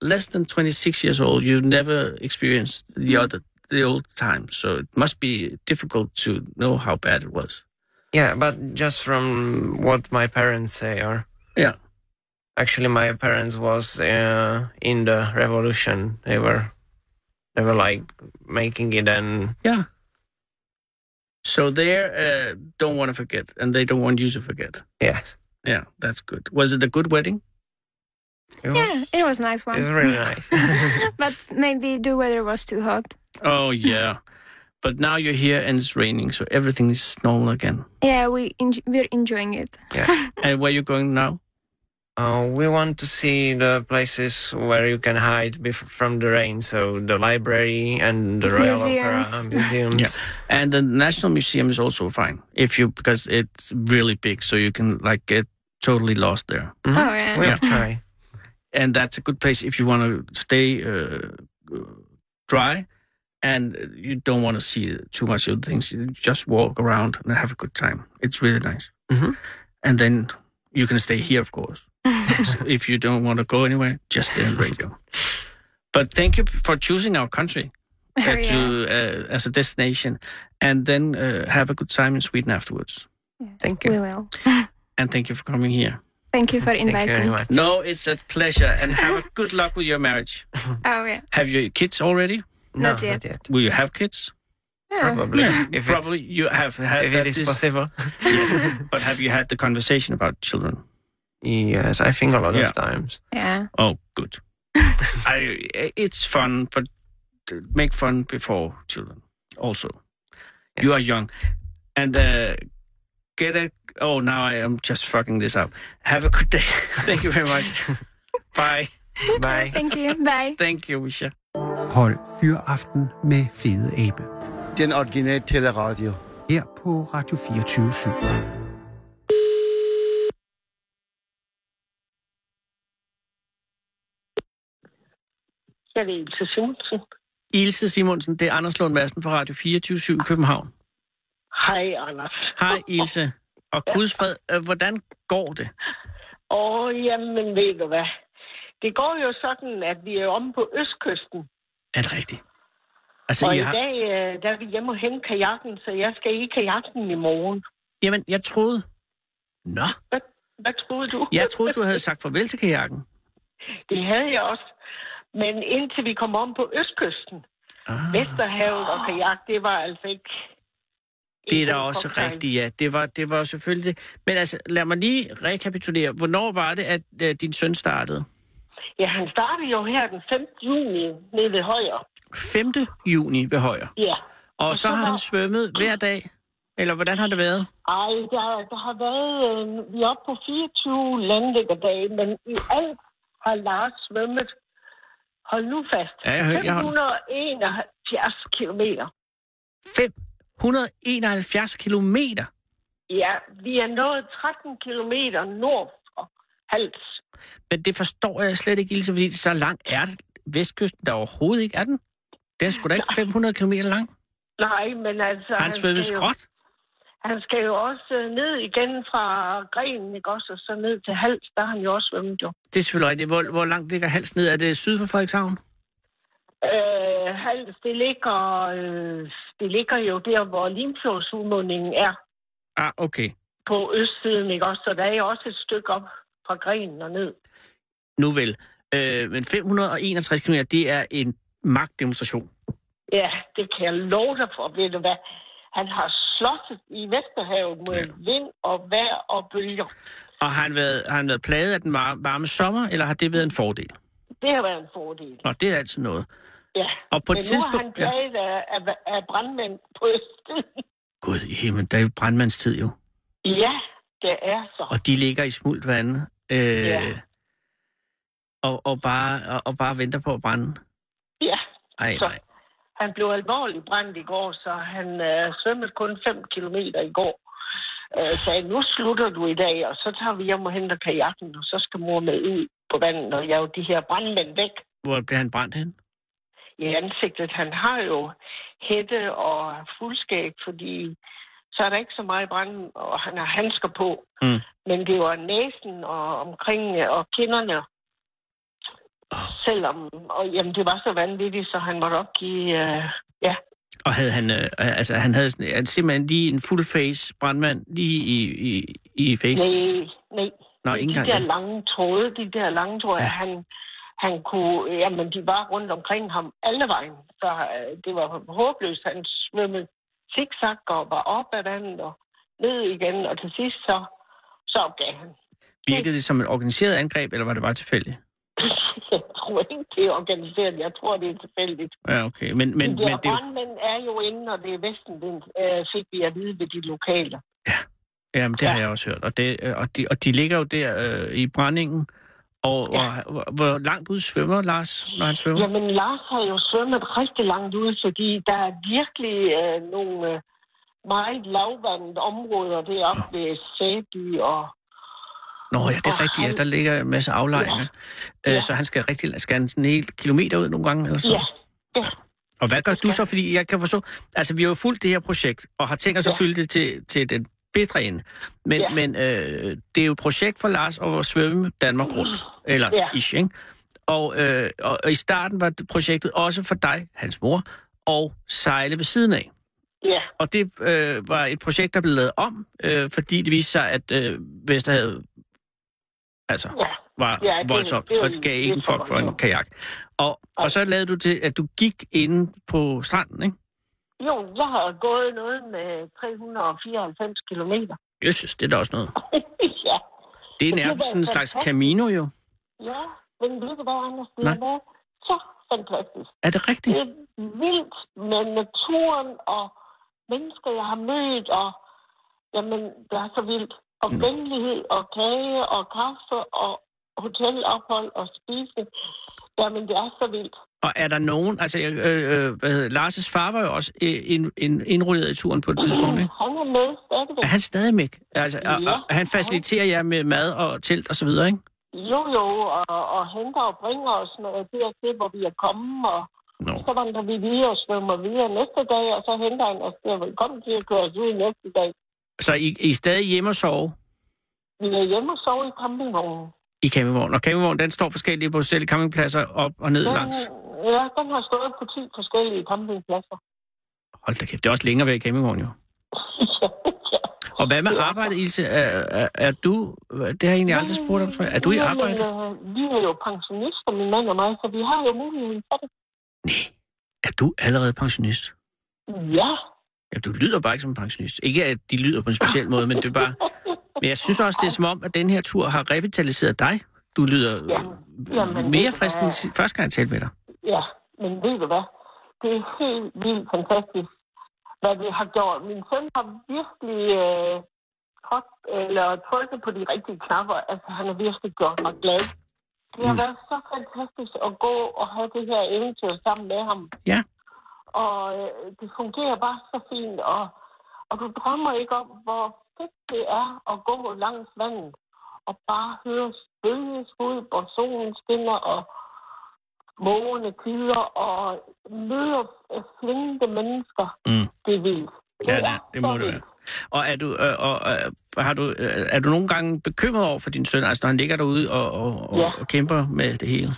Speaker 4: less than 26 years old, you've never experienced the other, the old time. So, it must be difficult to know how bad it was.
Speaker 7: Yeah, but just from what my parents say, or
Speaker 4: Yeah.
Speaker 7: actually, my parents was uh, in the revolution. They were, they were like making it, and
Speaker 4: Yeah. So, they uh, don't want to forget, and they don't want you to forget.
Speaker 7: yes,
Speaker 4: Yeah, that's good. Was it a good wedding?
Speaker 7: it was,
Speaker 6: Yeah, it was a nice
Speaker 7: it was
Speaker 6: one.
Speaker 7: really
Speaker 6: [laughs]
Speaker 7: nice. [laughs]
Speaker 6: but maybe the weather was too hot.
Speaker 4: Oh [laughs] yeah. but now you're here and it's raining, so everything is normal again.
Speaker 6: Yeah, we en- we're enjoying it.
Speaker 7: yeah.
Speaker 4: And where you going now?
Speaker 7: Uh, we want to see the places where you can hide bef- from the rain, so the library and the Royal Opera
Speaker 6: Museums.
Speaker 7: museums.
Speaker 4: And the National Museum is also fine if you because it's really big, so you can like get totally lost there.
Speaker 7: Mhm.
Speaker 6: Oh yeah.
Speaker 7: We'll
Speaker 4: Yeah.
Speaker 7: try.
Speaker 4: And that's a good place if you want to stay uh, dry and you don't want to see too much of things. You just walk around and have a good time. It's really nice.
Speaker 7: Mhm.
Speaker 4: And then you can stay here, of course. So if you don't want to go anywhere, just stay in radio. But thank you for choosing our country uh,
Speaker 6: Oh,
Speaker 4: to, uh, as a destination, and then uh, have a good time in Sweden afterwards.
Speaker 7: Thank you.
Speaker 6: We will.
Speaker 4: And thank you for coming here.
Speaker 6: Thank you for
Speaker 7: Thank you very
Speaker 6: inviting.
Speaker 7: much.
Speaker 4: No, it's a pleasure, and have a good luck with your marriage.
Speaker 6: oh yeah.
Speaker 4: Have you kids already?
Speaker 7: No,
Speaker 6: Not yet.
Speaker 7: yet.
Speaker 4: Will you have kids?
Speaker 7: probably. If, it,
Speaker 4: Probably you have had
Speaker 7: if
Speaker 4: that
Speaker 7: it is
Speaker 4: dis- [laughs]
Speaker 7: possible. [laughs]
Speaker 4: Yes. but have you had the conversation about children?
Speaker 7: Yes, I think a lot
Speaker 4: Yeah.
Speaker 7: of [laughs] times.
Speaker 6: Yeah.
Speaker 4: Oh,
Speaker 7: [laughs]
Speaker 4: good. I, it's fun, but make fun before children also. You
Speaker 7: Yes.
Speaker 4: are young. And uh, get a. Oh, now I am just fucking this up. Have a good day. [laughs] Thank you very
Speaker 7: [laughs]
Speaker 4: much. Bye.
Speaker 7: Bye.
Speaker 6: Thank [laughs] you. Bye.
Speaker 4: Thank you, Misha.
Speaker 5: Hold fyraften med Fede Abe.
Speaker 8: Den originale teleradio.
Speaker 5: Her på Radio 24 7.
Speaker 9: Jeg vil til Sunsen.
Speaker 4: Ilse Simonsen, det er Anders Lund Madsen fra Radio 24 i København.
Speaker 3: Hej, Anders.
Speaker 4: Hej Ilse. Og Guds fred, øh, hvordan går det?
Speaker 3: Åh, jamen ved du hvad. Det går jo sådan, at vi er omme på Østkysten.
Speaker 4: Er det rigtigt? Altså,
Speaker 3: og
Speaker 4: I
Speaker 3: i
Speaker 4: har...
Speaker 3: dag, øh, der er vi hjemme og hente kajakken, så jeg skal i kajakken i morgen.
Speaker 4: Jamen, jeg troede... Nå,
Speaker 3: Hvad, hvad troede du?
Speaker 4: jeg troede, du havde sagt farvel til kajakken.
Speaker 3: Det havde jeg også. Men indtil vi kom om på Østkysten,
Speaker 4: Ah,
Speaker 3: Vesterhavet og kajak, det var altså ikke...
Speaker 4: det er
Speaker 3: ikke
Speaker 4: da
Speaker 3: en
Speaker 4: også
Speaker 3: cocktail.
Speaker 4: rigtigt, ja. Det var, det var selvfølgelig det. Men altså, lad mig lige rekapitulere. Hvornår var det, at øh, din søn startede?
Speaker 3: Ja, han startede jo her den 5. juni nede ved Højer.
Speaker 4: 5. juni ved Højer.
Speaker 3: Ja.
Speaker 4: Og så
Speaker 3: så
Speaker 4: har
Speaker 3: var-
Speaker 4: han svømmet hver dag? Eller hvordan har det været?
Speaker 3: Ej, der, der har været... Øh, vi er oppe på 24 landlæggerdage, men i alt har Lars svømmet... Hold nu fast.
Speaker 4: Ja, jeg hører- jeg har-
Speaker 3: 571 kilometer.
Speaker 4: 571 kilometer.
Speaker 3: Ja, vi er nået 13 kilometer nord for Hals.
Speaker 4: Men det forstår jeg slet ikke, Ilse, fordi så langt er Vestkysten der overhovedet ikke er den. Den er sgu da ikke 500 km lang.
Speaker 3: Nej, men altså...
Speaker 4: [laughs] Har han svømmet
Speaker 3: skal jo-
Speaker 4: skråt?
Speaker 3: Han skal jo også øh, ned igen fra grenen, ikke også? Og så ned til Hals, der har han jo også svømmet jo.
Speaker 4: Det er selvfølgelig rigtigt. Hvor, hvor langt ligger hals ned? Er det syd for Frederikshavn?
Speaker 3: Øh, Hals, det ligger, øh, det ligger jo der, hvor Limfjordsudmundingen er
Speaker 4: Ah, okay.
Speaker 3: på østsiden, ikke også? Så der er jo også et stykke op fra grenen og ned.
Speaker 4: Nu vel. Øh, men 561 km, det er en magtdemonstration.
Speaker 3: Ja, det kan jeg love dig for, ved du hvad? Han har slået i Vesterhavet med
Speaker 4: Ja.
Speaker 3: vind og vejr og bølger.
Speaker 4: Og har han været, har han været plaget af den varme, varme sommer, eller har det været en fordel?
Speaker 3: Det har været en fordel.
Speaker 4: Nå, det er altid noget.
Speaker 3: Ja.
Speaker 4: Og på
Speaker 3: Men nu er
Speaker 4: et
Speaker 3: han
Speaker 4: tidspunkt... Ja.
Speaker 3: plaget af, af, af brandmænd på østsiden.
Speaker 4: Gud i himlen, der er jo brandmandstid jo.
Speaker 3: Ja, det er så.
Speaker 4: Og de ligger i smult vand. Øh,
Speaker 3: Ja.
Speaker 4: og, og, bare, og, og bare venter på at brænde.
Speaker 3: Ja,
Speaker 4: Ej,
Speaker 3: Så-
Speaker 4: nej.
Speaker 3: han blev alvorligt brændt i går, så han øh, svømmede kun 5 km i går. Øh, sagde, nu slutter du i dag, og så tager vi hjem og henter kajakken, og så skal mor med ud på vandet og jage de her brandmænd væk
Speaker 4: Hvor bliver han brændt hen?
Speaker 3: i ansigtet. Han har jo hætte og fuldskab, fordi så er der ikke så meget brand, og han har handsker på.
Speaker 4: Mm.
Speaker 3: Men det var næsen og omkring øh, og kinderne. Oh. Selvom, og jamen, det var så vanvittigt, så han måtte opgive øh,
Speaker 4: Og havde han, øh, altså, han havde sådan, han simpelthen lige en full face brandmand lige i, i, i face.
Speaker 3: Nej, nej.
Speaker 4: Nå,
Speaker 3: de
Speaker 4: ikke engang
Speaker 3: der
Speaker 4: det.
Speaker 3: lange tråde, de der lange tråde,
Speaker 4: Ja.
Speaker 3: ja. han, han kunne, jamen de var rundt omkring ham alle vejen, så øh, det var håbløst. Han svømmede zigzag og var op ad vandet og ned igen, og til sidst så, så opgav han. [laughs]
Speaker 4: Virkede det som et organiseret angreb, eller var det bare tilfældigt?
Speaker 3: jeg tror ikke, det er organiseret. Jeg tror, det er tilfældigt.
Speaker 4: Ja, okay. Men, men,
Speaker 3: Men, de
Speaker 4: men
Speaker 3: der
Speaker 4: det, er jo-
Speaker 3: brandmænd er jo inde, og det er Vestenvind, øh, fik vi at vide ved de lokale.
Speaker 4: jamen, det har jeg også hørt. Og, det, øh, og, de, og de ligger jo der øh, i brændingen. Og,
Speaker 3: Ja.
Speaker 4: og hvor, hvor langt ud svømmer Lars, når han svømmer?
Speaker 3: Jamen, Lars har jo svømmet rigtig langt ud, fordi der er virkelig øh, nogle øh, meget lavvandede områder deroppe ved Sæby og...
Speaker 4: Nå ja, det er
Speaker 3: og
Speaker 4: rigtigt. Ja,
Speaker 3: han-
Speaker 4: der ligger en masse aflejringer. Ja.
Speaker 3: Ja.
Speaker 4: Øh, så han skal rigtig skal han sådan en hel kilometer ud nogle gange? Eller så.
Speaker 3: Ja, ja.
Speaker 4: Og hvad gør du så? Fordi jeg kan forstå... Altså, vi har jo fulgt det her projekt, og har tænkt os at
Speaker 3: Ja.
Speaker 4: fylde det til, til den bedre ende. Men,
Speaker 3: Ja.
Speaker 4: men øh, det er jo et projekt for Lars at svømme Danmark rundt. Eller ja.
Speaker 3: Ja.
Speaker 4: ish, ikke? Og, øh, og, og i starten var det projektet også for dig, hans mor, og sejle ved siden af.
Speaker 3: Ja,
Speaker 4: Og det øh, var et projekt, der blev lavet om, øh, fordi det viste sig, at øh, Vesterhavet altså,
Speaker 3: ja.
Speaker 4: var
Speaker 3: Ja,
Speaker 4: ja,
Speaker 3: det-
Speaker 4: voldsomt,
Speaker 3: det er
Speaker 4: det,
Speaker 3: jo-
Speaker 4: og det gav
Speaker 3: det er
Speaker 4: ikke en fuck
Speaker 3: for
Speaker 4: for en
Speaker 3: voldsomt.
Speaker 4: kajak. Og, og så lavede du til, at du gik inde på stranden, ikke?
Speaker 3: Jo, jeg har gået noget med 394 kilometer. [laughs]
Speaker 4: Jesus, det er da også noget.
Speaker 3: ja.
Speaker 4: Det
Speaker 3: Det
Speaker 4: er nærmest
Speaker 3: lyder
Speaker 4: sådan en slags
Speaker 3: fantastisk.
Speaker 4: Camino jo.
Speaker 3: ja, men ved du hvad, Anders? Det
Speaker 4: Nej.
Speaker 3: har været så fantastisk.
Speaker 4: Er det rigtigt?
Speaker 3: Det er vildt med naturen og mennesker, jeg har mødt, og jamen, det er så vildt. Og
Speaker 4: Nå.
Speaker 3: venlighed og kage og kaffe og hotelophold og spise. Jamen, det er så vildt.
Speaker 4: Og er der nogen, altså jeg- øh, øh, hvad hedder, Lars' far var jo også øh, ind, ind, indrulleret i turen på et tidspunkt, ikke?
Speaker 3: Han er med
Speaker 4: Er
Speaker 3: stadigvæk.
Speaker 4: han stadig med? Altså, og,
Speaker 3: Ja.
Speaker 4: og, han faciliterer jer med mad og telt og så videre, ikke?
Speaker 3: Jo, jo, og, og henter og bringer os noget dertil, hvor vi er kommet, og
Speaker 4: Nå.
Speaker 3: så vandrer vi videre og svømmer videre næste dag, og så henter han os der, velkommen til at køre os ud næste dag.
Speaker 4: Så I, I er stadig hjemme og sove
Speaker 3: Vi er hjemme og sover i campingvognen.
Speaker 4: i campingvognen. Og campingvognen, den står forskellige på forskellige campingpladser op og ned
Speaker 3: Den,
Speaker 4: langs.
Speaker 3: ja, den har stået på 10 forskellige campingpladser.
Speaker 4: Hold da kæft, det er også længere at være i
Speaker 3: [laughs]
Speaker 4: campingvognen jo. Og hvad med arbejde, Ilse? Er, er, er du... Det har jeg egentlig aldrig spurgt om, tror jeg. Er du i
Speaker 3: Jamen,
Speaker 4: arbejde?
Speaker 3: øh, vi er jo pensionister, min mand og mig, så vi har jo muligheden for det.
Speaker 4: Er du allerede pensionist?
Speaker 3: Ja,
Speaker 4: Ja, du lyder bare ikke som en pensionist. Ikke at de lyder på en speciel måde, men det er
Speaker 3: [laughs]
Speaker 4: bare... Men jeg synes også, det er som om, at den her tur har revitaliseret dig. Du lyder
Speaker 3: Ja.
Speaker 4: Jamen,
Speaker 3: Jamen,
Speaker 4: mere
Speaker 3: det er-
Speaker 4: frisk end si- første gang, jeg talte med dig.
Speaker 3: ja, men ved du hvad? Det er helt vildt fantastisk, hvad det har gjort. Min søn har virkelig øh, trådt, eller trykket på de rigtige knapper. Altså, han har virkelig gjort mig glad. Det har været så fantastisk at gå og have det her eventyr sammen med ham.
Speaker 4: Ja.
Speaker 3: Og øh, det fungerer bare så fint, og, og du drømmer ikke om, hvor fedt det er at gå langs vandet og bare høre bølgeskud, hvor solen skinner, og mågerne kilder, og møder øh, flinte mennesker.
Speaker 4: Mm.
Speaker 3: Det er vildt.
Speaker 4: Ja, det, det må
Speaker 3: så
Speaker 4: du
Speaker 3: vildt.
Speaker 4: være. Og er du, øh, og, øh, har du, øh, er du nogle gange bekymret over for din søn, altså når han ligger derude og, og, og,
Speaker 3: Ja.
Speaker 4: og kæmper med det hele?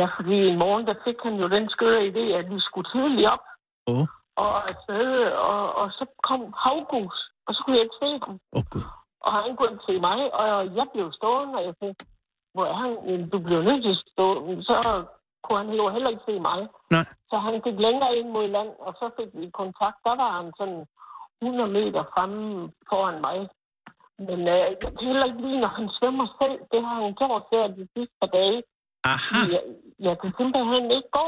Speaker 3: Ja, fordi i morgen, der fik han jo den skøre idé, at vi skulle tidligt op
Speaker 4: Åh, oh,
Speaker 3: og afsted, og, og så kom havgus, og så kunne jeg ikke se ham.
Speaker 4: oh, gud.
Speaker 3: Og han kunne ikke se mig, og jeg blev stående, og jeg tænkte, hvor er han? Jamen, Du blev nødt til at stå. Så kunne han jo heller ikke se mig.
Speaker 4: Nej.
Speaker 3: Så han gik længere ind mod land, og så fik vi kontakt. Der var han sådan 100 meter fremme foran mig. Men øh, jeg kan heller ikke lide, når han svømmer selv. Det har han gjort der de sidste par dage.
Speaker 4: Aha,
Speaker 3: Jeg, jeg kan simpelthen ikke gå.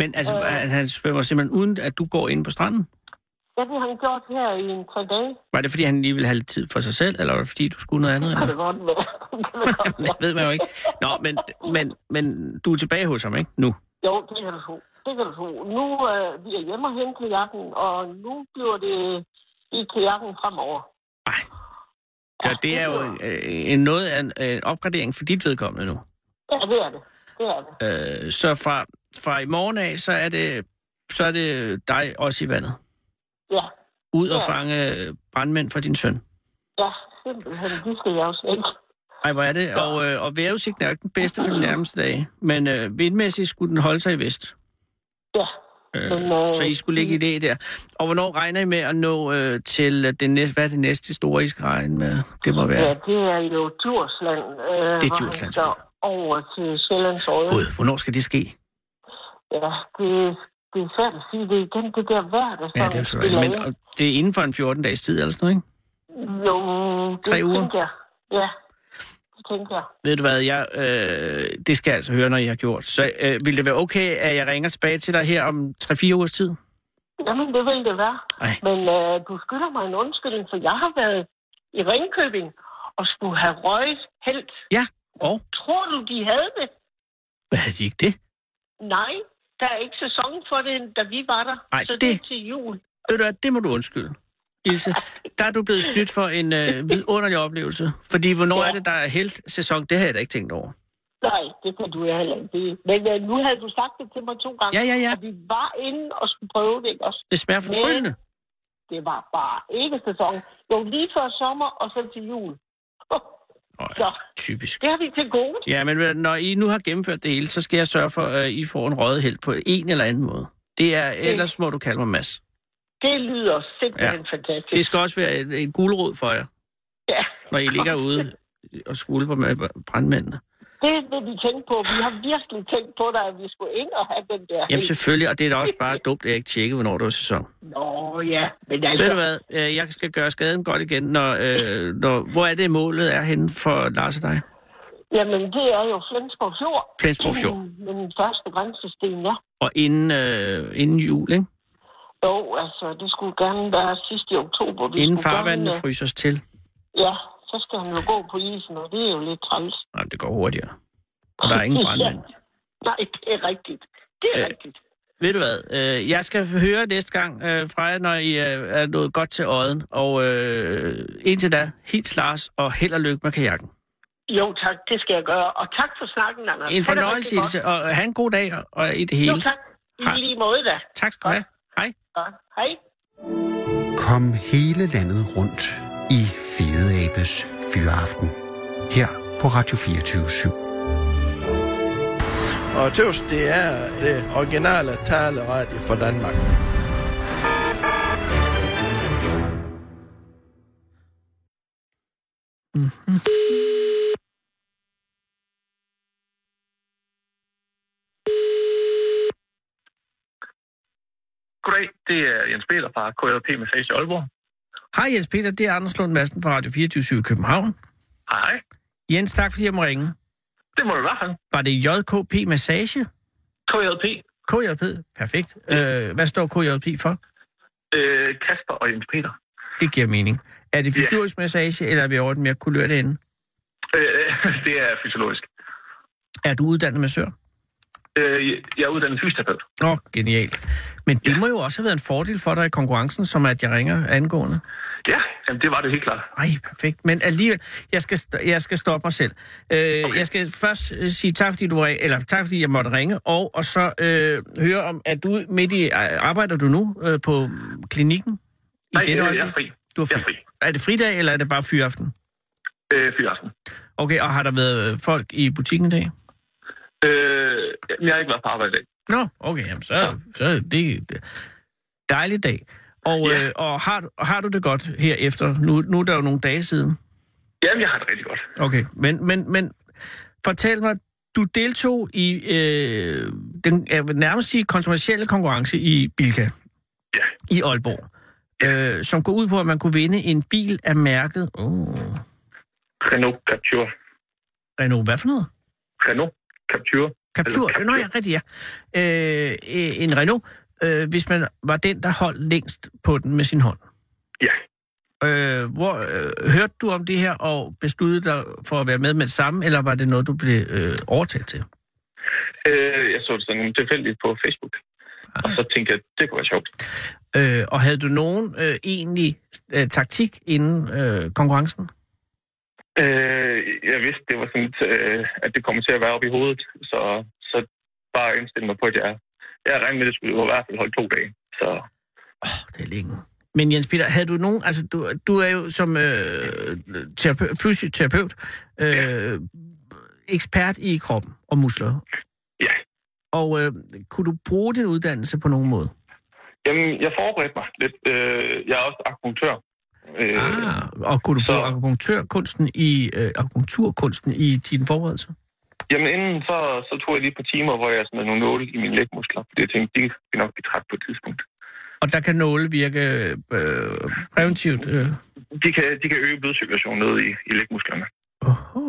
Speaker 4: men altså,
Speaker 3: Øh.
Speaker 4: øh. han svømmer simpelthen uden, at du går ind på stranden?
Speaker 3: Ja, det har han gjort her i en tre dage.
Speaker 4: Var det, fordi han lige ville have lidt tid for sig selv, eller var det, fordi du skulle noget andet?
Speaker 3: [laughs] Kan
Speaker 4: Eller?
Speaker 3: det godt være.
Speaker 10: [laughs]
Speaker 3: Det kan det godt være.
Speaker 4: [laughs] Det ved man jo ikke. Nå, men, men, men du er tilbage hos ham, ikke? Nu.
Speaker 3: Jo, det kan du tro. Det kan du tro. Nu øh, vi er hjemme og hente kajakken, og nu bliver det i kajakken fremover.
Speaker 4: Nej. Så det er jo øh, en noget af en, øh, en opgradering for dit vedkommende nu.
Speaker 3: Ja, det er det. Det er det.
Speaker 4: Øh, så fra, fra i morgen af, så er, det, så er det dig også i vandet.
Speaker 3: Ja,
Speaker 4: Ud og
Speaker 3: Ja.
Speaker 4: fange øh, brandmænd for din søn.
Speaker 3: ja, simpelthen. Det skal jeg også ikke.
Speaker 4: Ej, hvor er det? Og, øh, og vejrudsigten er jo ikke den bedste for de nærmeste dage. Men øh, vindmæssigt skulle den holde sig i vest.
Speaker 3: Ja. Men,
Speaker 4: Øh, så I skulle ligge i det der. Og hvornår regner I med at nå øh, til øh, den næste, hvad er det næste store, I skal regne med? Det må
Speaker 3: Ja,
Speaker 4: være.
Speaker 3: det er jo Djursland. Øh, hvor han
Speaker 4: Djursland,
Speaker 3: skal over til Sjællands Røde.
Speaker 4: Gud, hvornår skal det ske?
Speaker 3: Ja, det, det er svært at sige det er igen. Det der vejr, der
Speaker 4: Ja, det er jo så rigtigt. Men og det er inden for en 14-dages tid eller sådan noget, ikke?
Speaker 3: Jo,
Speaker 4: Tre
Speaker 3: det
Speaker 4: uger?
Speaker 3: tænker jeg. Ja, det tænker jeg.
Speaker 4: Ved du hvad, jeg, øh, det skal jeg altså høre, når I har gjort. Så øh, vil det være okay, at jeg ringer tilbage til dig her om 3-4 ugers tid?
Speaker 3: Jamen, det vil det være.
Speaker 4: Ej.
Speaker 3: Men øh, du skylder mig en undskyldning, for jeg har været i Ringkøbing og skulle have røget helt.
Speaker 4: Ja, og?
Speaker 3: Tror du, de havde det?
Speaker 4: Hvad havde de ikke det?
Speaker 3: Nej, der er ikke sæson for det, da vi var der.
Speaker 4: Ej,
Speaker 3: så
Speaker 4: det-
Speaker 3: er til jul.
Speaker 4: Ved du hvad, det må du undskylde. Ilse, der er du blevet snydt for en øh, vidunderlig oplevelse. Fordi hvornår ja.
Speaker 3: Ja.
Speaker 4: er det, der er helt sæson? Det havde jeg da ikke tænkt over.
Speaker 3: Nej, det kan du heller ikke vide. Men øh, nu havde du sagt det til mig to gange.
Speaker 4: Ja, ja, ja.
Speaker 3: Og vi var inde og skulle prøve det, ikke også?
Speaker 4: Det smager fortryllende.
Speaker 3: Det var bare ikke sæson. Jo, lige før sommer og så til jul.
Speaker 4: Nå, ja,
Speaker 3: Så
Speaker 4: typisk.
Speaker 3: det har vi til gode.
Speaker 4: Ja, men ved du, når I nu har gennemført det hele, så skal jeg sørge for, at I får en røget held på en eller anden måde. Det er, ellers må du kalde mig Mads.
Speaker 3: Det lyder simpelthen ja. fantastisk.
Speaker 4: Det skal også være en, en gulerod for jer.
Speaker 3: Ja.
Speaker 4: når I ligger ude og skulper med brandmændene.
Speaker 10: Det vil de tænke på. Vi har virkelig tænkt på dig, at vi skulle ind og have den der...
Speaker 4: Jamen selvfølgelig, og det er da også bare dumt, at jeg ikke tjekker, hvornår det er sæson.
Speaker 10: Nå ja, men
Speaker 4: Ved du
Speaker 10: altså...
Speaker 4: hvad, øh, jeg skal gøre skaden godt igen, når, øh, når, hvor er det målet er henne for Lars og dig?
Speaker 10: Jamen, det er jo Flensborg Fjord. Mm,
Speaker 4: Flensborg Fjord.
Speaker 10: Den, den første grænsesten, ja.
Speaker 4: Og inden, øh, inden jul, ikke?
Speaker 10: Jo, altså, det skulle gerne være sidst i oktober. Vi
Speaker 4: Inden
Speaker 10: skulle
Speaker 4: farvandene
Speaker 10: gerne,
Speaker 4: fryses til.
Speaker 10: Ja, så skal han jo gå på isen, og det er jo lidt træls.
Speaker 4: Nej, det går hurtigere. Og der er ingen brandmænd.
Speaker 10: Ja. Nej, det er rigtigt. Det er
Speaker 4: Øh.
Speaker 10: øh. rigtigt.
Speaker 4: Ved du hvad, øh, jeg skal høre næste gang øh, fra jer, når I øh, er nået godt til øjen. Og øh, indtil da, hils Lars, og held og lykke med kajakken.
Speaker 10: Jo, tak. Det skal jeg gøre. Og tak for snakken, Anders. Ha'
Speaker 4: En
Speaker 10: det rigtig
Speaker 4: fornøjelse,
Speaker 10: godt.
Speaker 4: Ilse, og øh, have en god dag og, og i det hele.
Speaker 10: Jo, tak.
Speaker 4: Hej.
Speaker 10: I lige måde da.
Speaker 4: Tak skal du have. Hej.
Speaker 10: Ja. Hej.
Speaker 5: Kom hele landet rundt i Fede Abes Fyraften. Her på Radio 24 /7.
Speaker 2: Og tøvs, det er det originale taleradio for Danmark.
Speaker 8: Goddag, det er Jens Peter fra KLP Massage i Aalborg.
Speaker 4: Hej Jens Peter, det er Anders Lund Madsen fra Radio 24 i København.
Speaker 8: Hej, Hej,
Speaker 4: Jens, tak fordi jeg må ringe.
Speaker 8: det må du være.
Speaker 4: Var det JKP Massage?
Speaker 8: KLP,
Speaker 4: KJP? Perfekt. Øh, hvad står KJP for?
Speaker 8: øh, Kasper og Jens Peter.
Speaker 4: Det giver mening. Er det fysiologisk massage, eller er vi over den mere kulørte ende?
Speaker 8: Øh, [laughs] det er fysiologisk.
Speaker 4: Er du uddannet massør?
Speaker 8: Øh, jeg er uddannet fysioterapeut.
Speaker 4: Nå, genialt. Men det må jo også have været en fordel for dig i konkurrencen, som at jeg ringer angående.
Speaker 8: Ja, jamen, det var det helt klart.
Speaker 4: Ej, perfekt. Men alligevel, jeg skal, st- jeg skal stoppe mig selv. Øh, okay. Jeg skal først øh, sige tak, fordi du var, eller tak, fordi jeg måtte ringe, og, og så øh, høre om, at du midt i, arbejder du nu øh, på klinikken? I
Speaker 8: Nej,
Speaker 4: dette
Speaker 8: øh, jeg
Speaker 4: øjeblik?
Speaker 8: er fri.
Speaker 4: Du er fri.
Speaker 8: Jeg er fri.
Speaker 4: Er det fridag, eller er det bare fyraften?
Speaker 8: Øh, fyraften.
Speaker 4: Okay, og har der været øh, folk i butikken i dag?
Speaker 8: Øh, jamen, jeg har ikke været på arbejde i dag.
Speaker 4: Nå, okay, jamen, så, så er det det- dejlig dag. Og,
Speaker 8: Ja.
Speaker 4: øh, og har, du- har du det godt herefter? Nu, nu er der jo nogle dage siden.
Speaker 8: Jamen, jeg har det rigtig godt.
Speaker 4: Okay, men, men, men fortæl mig, du deltog i øh, den jeg vil nærmest sige, kontroversielle konkurrence i Bilka
Speaker 8: Ja.
Speaker 4: i Aalborg, øh, som går ud på, at man kunne vinde en bil af mærket oh,
Speaker 8: Renault Capture.
Speaker 4: Renault. Hvad for noget?
Speaker 8: Renault Capture.
Speaker 4: Captur.
Speaker 8: Eller
Speaker 4: Nå ja,
Speaker 8: Captur.
Speaker 4: rigtig ja. Øh, en Renault, øh, hvis man var den, der holdt længst på den med sin hånd.
Speaker 8: Ja.
Speaker 4: Øh, hvor, øh, hørte du om det her og besluttede dig for at være med med det samme, eller var det noget, du blev øh, overtalt til?
Speaker 8: Øh, jeg så det sådan tilfældigt på Facebook. Og så tænkte jeg, det kunne være sjovt.
Speaker 4: Øh, og havde du nogen øh, egentlig øh, taktik inden øh, konkurrencen?
Speaker 8: Øh, jeg vidste, det var sådan, lidt, øh, at det kommer til at være oppe i hovedet, så, så bare indstille mig på, at jeg, jeg regnede med, at det skulle i hvert fald holde to dage. Så
Speaker 4: Oh, det er længe. Men Jens Peter, havde du nogen... Altså, du, du er jo som øh, terape- fysioterapeut øh, ekspert i kroppen og muskler.
Speaker 8: ja,
Speaker 4: Og øh, kunne du bruge din uddannelse på nogen måde?
Speaker 8: Jamen, jeg forberedte mig lidt. Øh, jeg er også akupunktør. Øh,
Speaker 4: Ah, og kunne du bruge
Speaker 8: så-
Speaker 4: akupunktørkunsten i, øh, akupunkturkunsten i din forberedelse?
Speaker 8: Jamen, inden så, så tog jeg lige et par timer, hvor jeg smed nogle nåle i mine lægmuskler, fordi jeg tænkte, de skal nok blive træt på et tidspunkt.
Speaker 4: Og der kan nåle virke øh, præventivt. Øh.
Speaker 8: De kan, de kan øge blodcirkulationen ned i, i lægmusklerne.
Speaker 4: Oho.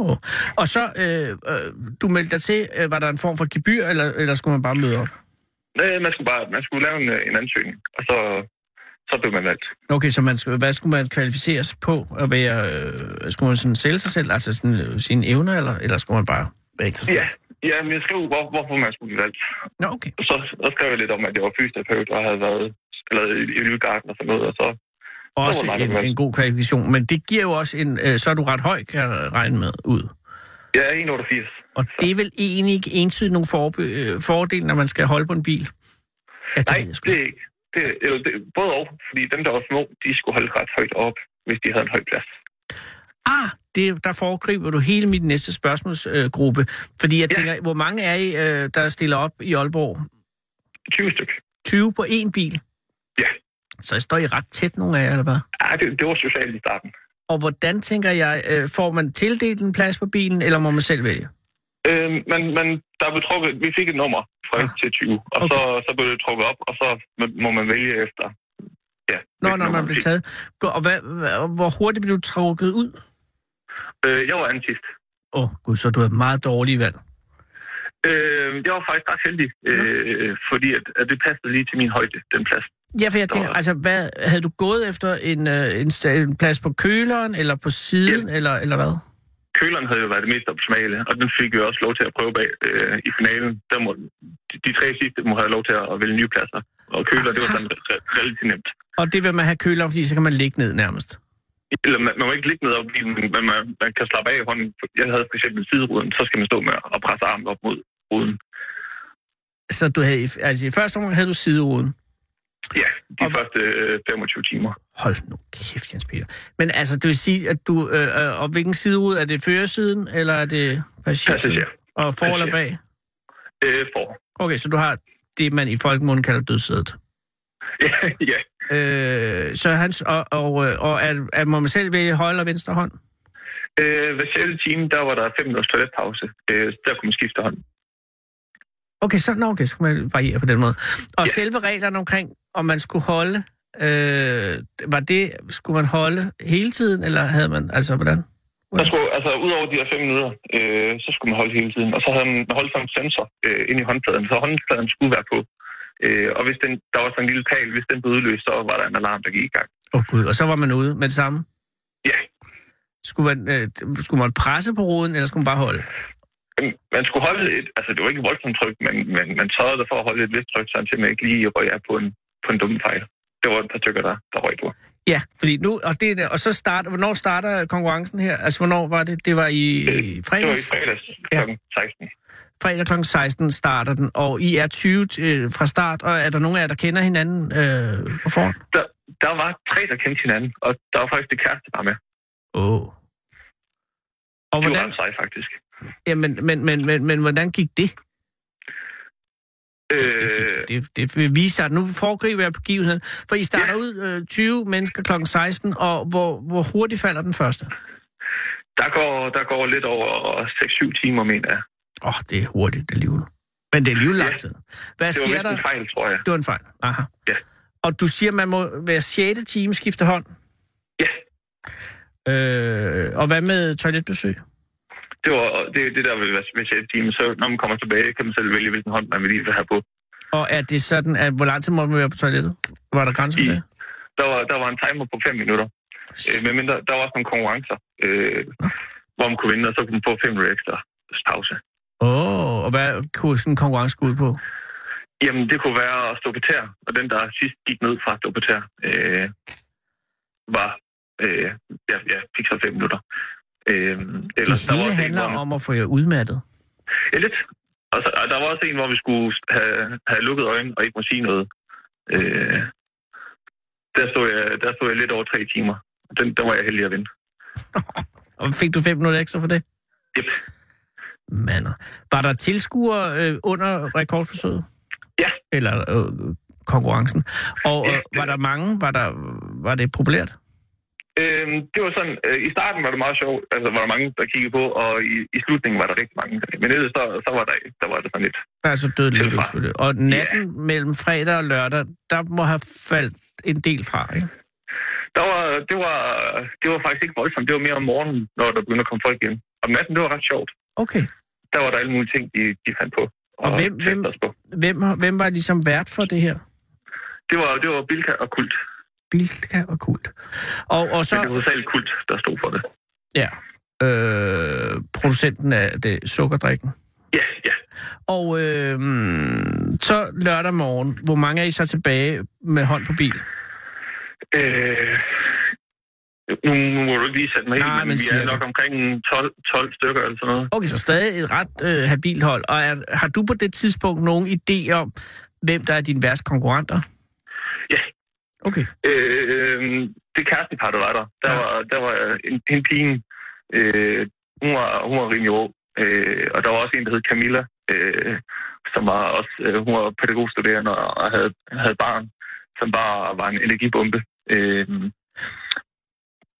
Speaker 4: Og så, øh, øh, du meldte dig til, øh, var der en form for gebyr, eller, eller skulle man bare møde op?
Speaker 8: Nej, man skulle bare man skulle lave en, øh, en ansøgning, og så, så blev man valgt.
Speaker 4: Okay, så man, skulle- hvad skulle man kvalificeres på at være, øh, skulle man sådan sælge sig selv, altså sådan, øh, sine evner, eller, eller skulle man bare være interesseret?
Speaker 8: Ja, ja men jeg skrev, hvor, hvorfor man skulle blive valgt.
Speaker 4: Nå, okay.
Speaker 8: så, så skrev jeg lidt om, at jeg var fysioterapeut og havde været eller i, i Nygarden og sådan noget, og så...
Speaker 4: Også
Speaker 8: Det var meget
Speaker 4: en,
Speaker 8: godt.
Speaker 4: en god kvalifikation, men det giver jo også en, øh, så er du ret høj, kan jeg regne med, ud.
Speaker 8: Jeg er 1,88.
Speaker 4: Og det er vel egentlig ikke entydigt nogle forbe- øh, fordele, når man skal holde på en bil? Ja, det
Speaker 8: Nej,
Speaker 4: ved jeg sgu
Speaker 8: det
Speaker 4: ikke.
Speaker 8: er ikke. Det, eller det, både og, fordi dem, der var små, de skulle holde ret højt op, hvis de havde en høj plads.
Speaker 4: Ah, det, der foregriber du hele mit næste spørgsmålsgruppe. Øh, gruppe. fordi jeg
Speaker 8: Ja.
Speaker 4: tænker, hvor mange er I, øh, der stiller op i Aalborg?
Speaker 8: 20 styk.
Speaker 4: 20 på én bil?
Speaker 8: Ja.
Speaker 4: Så I står I ret tæt nogle af jer, eller hvad?
Speaker 8: Ej, det, det var socialt i starten.
Speaker 4: Og hvordan tænker jeg, øh, får man tildelt en plads på bilen, eller må man selv vælge?
Speaker 8: Øh, men, men der blev trukket, vi fik et nummer fra
Speaker 4: Ah,
Speaker 8: 1 til 20, og okay. så, så blev det trukket op, og så må man vælge efter. Ja,
Speaker 4: Nå,
Speaker 8: hvilket
Speaker 4: når man
Speaker 8: nummer
Speaker 4: blev
Speaker 8: fik.
Speaker 4: taget. Gå- Og hvad, hvad, hvor hurtigt blev du trukket ud?
Speaker 8: Øh, jeg var anden sidst.
Speaker 4: Åh, oh, gud, så du havde meget dårlige valg.
Speaker 8: Øh, jeg var faktisk ret heldig, øh, fordi at, at det passede lige til min højde, den plads.
Speaker 4: Ja, for jeg tænker,
Speaker 8: Nå.
Speaker 4: altså, hvad, havde du gået efter en, øh, en, sta- en plads på køleren, eller på siden, eller, eller hvad?
Speaker 8: Køleren havde jo været det mest optimale, og den fik jo også lov til at prøve bag øh, i finalen. Der må, de, de tre sidste må have lov til at vælge nye pladser, og køler, det var sådan re- relativt nemt.
Speaker 4: Og det vil man have køleren, fordi så kan man ligge ned nærmest.
Speaker 8: Eller man, man må ikke ligge ned op i bilen, men man, man kan slappe af i hånden. Jeg havde for eksempel sideruden, så skal man stå med og presse armen op mod ruden.
Speaker 4: Så du havde, i- altså, i første omgang havde du sideruden.
Speaker 8: Ja, de første øh, 25 timer.
Speaker 4: Hold nu kæft, Jens Peter. Men altså, det vil sige, at du... Øh, øh, og hvilken siderude? Er det førersiden, eller er det passagersiden?
Speaker 8: Passager.
Speaker 4: Og for eller bag?
Speaker 8: Passager. Øh, for.
Speaker 4: Okay, så du har det, man i folkemunden kalder dødsædet.
Speaker 8: [laughs] ja,
Speaker 4: Øh, så hans, og, og, øh, og er, er, må man selv vælge højre eller venstre hånd?
Speaker 8: Øh, hver sjette time, der var der 5 minutters toiletpause. Øh, der kunne man skifte hånd.
Speaker 4: Okay, så, nå, okay, så kan man variere på den måde. Og ja. selve reglerne omkring, om man skulle holde, øh, var det, skulle man holde hele tiden, eller havde man, altså hvordan?
Speaker 8: Der skulle, altså, udover de her 5 minutter, øh, så skulle man holde hele tiden. Og så havde man man holdt sådan en sensor øh, inde i håndpladen, så håndpladen skulle være på. Øh, og hvis den, der var sådan en lille pal, hvis den blev udløst, så var der en alarm, der gik i gang.
Speaker 4: Åh oh, gud, og så var man ude med det samme?
Speaker 8: Ja.
Speaker 4: Skulle man, øh, skulle man presse på roden, eller skulle man bare holde?
Speaker 8: Øhm, Man skulle holde et, altså det var ikke et voldsomt tryk, men, men man sørgede der for at holde et vist tryk, sådan til man ikke lige røg af på en, på en dum fejl. Det var et par stykker, der, der røg på.
Speaker 4: Ja, fordi nu, og, det, er- og så starter, hvornår starter konkurrencen her? Altså, hvornår var det? Øh, Det var i, i
Speaker 8: Øh, Det var i
Speaker 4: fredags?
Speaker 8: fredags
Speaker 4: Ja.
Speaker 8: kl. 16.
Speaker 4: Fredag kl. 16 starter den, og I er 20 øh, fra start, og er der nogen af jer, der kender hinanden øh, på forhånd?
Speaker 8: Der, der var tre, der kendte hinanden, og der var faktisk det kæreste, der var med.
Speaker 4: Åh. Oh. Og
Speaker 8: Det var
Speaker 4: hvordan,
Speaker 8: ret sej, faktisk.
Speaker 4: ja, men, men, men, men, men, hvordan gik det?
Speaker 8: Øh,
Speaker 4: Det, det vil vise sig, at nu foregriber jeg begivenheden. For I starter ja. ud øh, 20 mennesker kl. 16, og hvor, hvor hurtigt falder den første?
Speaker 8: der, går, der går lidt over 6-7 timer, mener jeg.
Speaker 4: Åh, oh, det er hurtigt alligevel. Men det er alligevel lang
Speaker 8: Ja.
Speaker 4: tid. Hvad
Speaker 8: det var
Speaker 4: sker
Speaker 8: vist
Speaker 4: der?
Speaker 8: en fejl, tror jeg.
Speaker 4: Det var en fejl. Aha.
Speaker 8: Ja.
Speaker 4: Og du siger, man må hver 6. time skifte hånd?
Speaker 8: Ja.
Speaker 4: Øh, og hvad med toiletbesøg?
Speaker 8: Det var det, det der ville være med 6 timer. Så når man kommer tilbage, kan man selv vælge, hvilken hånd man vil lige vil have på.
Speaker 4: Og er det sådan, at hvor lang tid må man være på toilettet? Var der grænse
Speaker 8: I-
Speaker 4: for det?
Speaker 8: Der var, der var en timer på 5 minutter. Øh, men, men der, der var også nogle konkurrencer, øh, hvor man kunne vinde, og så kunne man få 5 minutter ekstra pause.
Speaker 4: Åh, oh, og hvad kunne sådan en konkurrence gå ud på?
Speaker 8: Jamen, det kunne være at stå på tær, og den, der sidst gik ned fra at stå på tær, øh, var, øh, ja, ja, fik så 5 minutter. Øh,
Speaker 4: Det
Speaker 8: ellers,
Speaker 4: hele
Speaker 8: også en,
Speaker 4: handler
Speaker 8: hvor man-
Speaker 4: om at få jer udmattet.
Speaker 8: Ja, lidt. Og så, og der var også en, hvor vi skulle have, have lukket øjnene og ikke må sige noget. Øh, der, stod jeg, der stod jeg lidt over tre timer. Den, der var jeg heldig at vinde.
Speaker 4: Og fik du 5 minutter ekstra for det?
Speaker 8: Yep.
Speaker 4: Mander. Var der tilskuere øh, under rekordforsøget?
Speaker 8: Ja.
Speaker 4: Eller øh, konkurrencen. Og
Speaker 8: Ja,
Speaker 4: øh, var der mange? Var, der, var det populært?
Speaker 8: Øhm, det var sådan, øh, i starten var det meget sjovt, altså var der mange, der kiggede på, og i, i slutningen var der rigtig mange. Men ellers, så, så var der, der var det sådan lidt.
Speaker 4: Altså døde lidt
Speaker 8: Det var-
Speaker 4: selvfølgelig. Og natten ja. mellem fredag og lørdag, der må have faldt en del fra, ikke?
Speaker 8: Der var, det, var, det var faktisk ikke voldsomt, det var mere om morgenen, når der begyndte at komme folk hjem. Om natten, det var ret sjovt.
Speaker 4: Okay.
Speaker 8: Der var der alle mulige ting, de, de fandt på.
Speaker 4: Og hvem-
Speaker 8: testede
Speaker 4: hvem-
Speaker 8: os på.
Speaker 4: Hvem, har- hvem var ligesom vært for det her?
Speaker 8: Det var, det var Bilka og Kult.
Speaker 4: Bilka og Kult. Og, og
Speaker 8: Så... Men det
Speaker 4: så,
Speaker 8: var hovedsageligt kult, der stod for det.
Speaker 4: ja, øh, producenten af det, sukkerdrikken.
Speaker 8: Ja, ja.
Speaker 4: Og øh, så lørdag morgen, hvor mange er I så tilbage med hånd på bil?
Speaker 8: Øh, nu, nu må du ikke lige sætte mig
Speaker 4: Nej, men
Speaker 8: helt, men, men vi
Speaker 4: cirka.
Speaker 8: er nok omkring en 12, 12 stykker eller sådan noget.
Speaker 4: Okay, så stadig et ret øh, habilt hold. Og er, har du på det tidspunkt nogen idé om, hvem der er dine værste konkurrenter?
Speaker 8: Ja.
Speaker 4: Okay.
Speaker 8: Øh, øh, det kærestepar, der var der, der,
Speaker 4: Ja.
Speaker 8: ja. var, der var en, en pige, øh, hun, var, hun var rimelig rå. Øh, og der var også en, der hed Camilla, øh, som var også, øh, hun var pædagogstuderende og og havde, havde barn, som bare var en energibombe. Øh,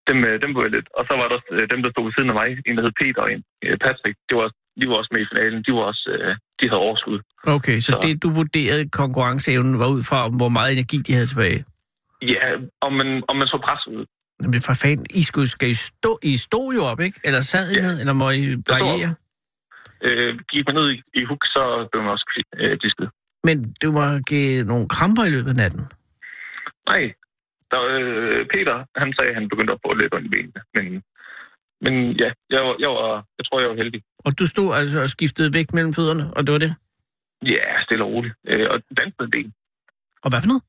Speaker 8: dem, øh, dem var jeg lidt. Og så var der også øh, dem, der stod ved siden af mig, en, der hed Peter og en, øh, Patrick. Det var de var også med i finalen. De, var også, øh, de havde overskud.
Speaker 4: Okay, så, så
Speaker 8: Så-
Speaker 4: det du vurderede konkurrenceevnen var ud fra, hvor meget energi de havde tilbage.
Speaker 8: Ja, om man, om man så pres ud.
Speaker 4: Jamen for fanden, I, skulle, skal I, stå, I stod jo op, ikke? Eller sad I
Speaker 8: Ja.
Speaker 4: ned, eller må I
Speaker 8: stod op.
Speaker 4: variere?
Speaker 8: Øh, gik man ned i, i huk, så blev man også øh, disket.
Speaker 4: Men du må give nogle kramper i løbet af natten.
Speaker 8: Nej, der, var, øh, Peter, han sagde, at han begyndte at få lidt ondt i benene. Men, men ja, jeg, var, jeg, var, jeg tror, jeg var heldig.
Speaker 4: Og du stod altså og skiftede vægt mellem fødderne, og det var det?
Speaker 8: Ja, stille og roligt. Øh, og dansede en del.
Speaker 4: Og hvad for noget?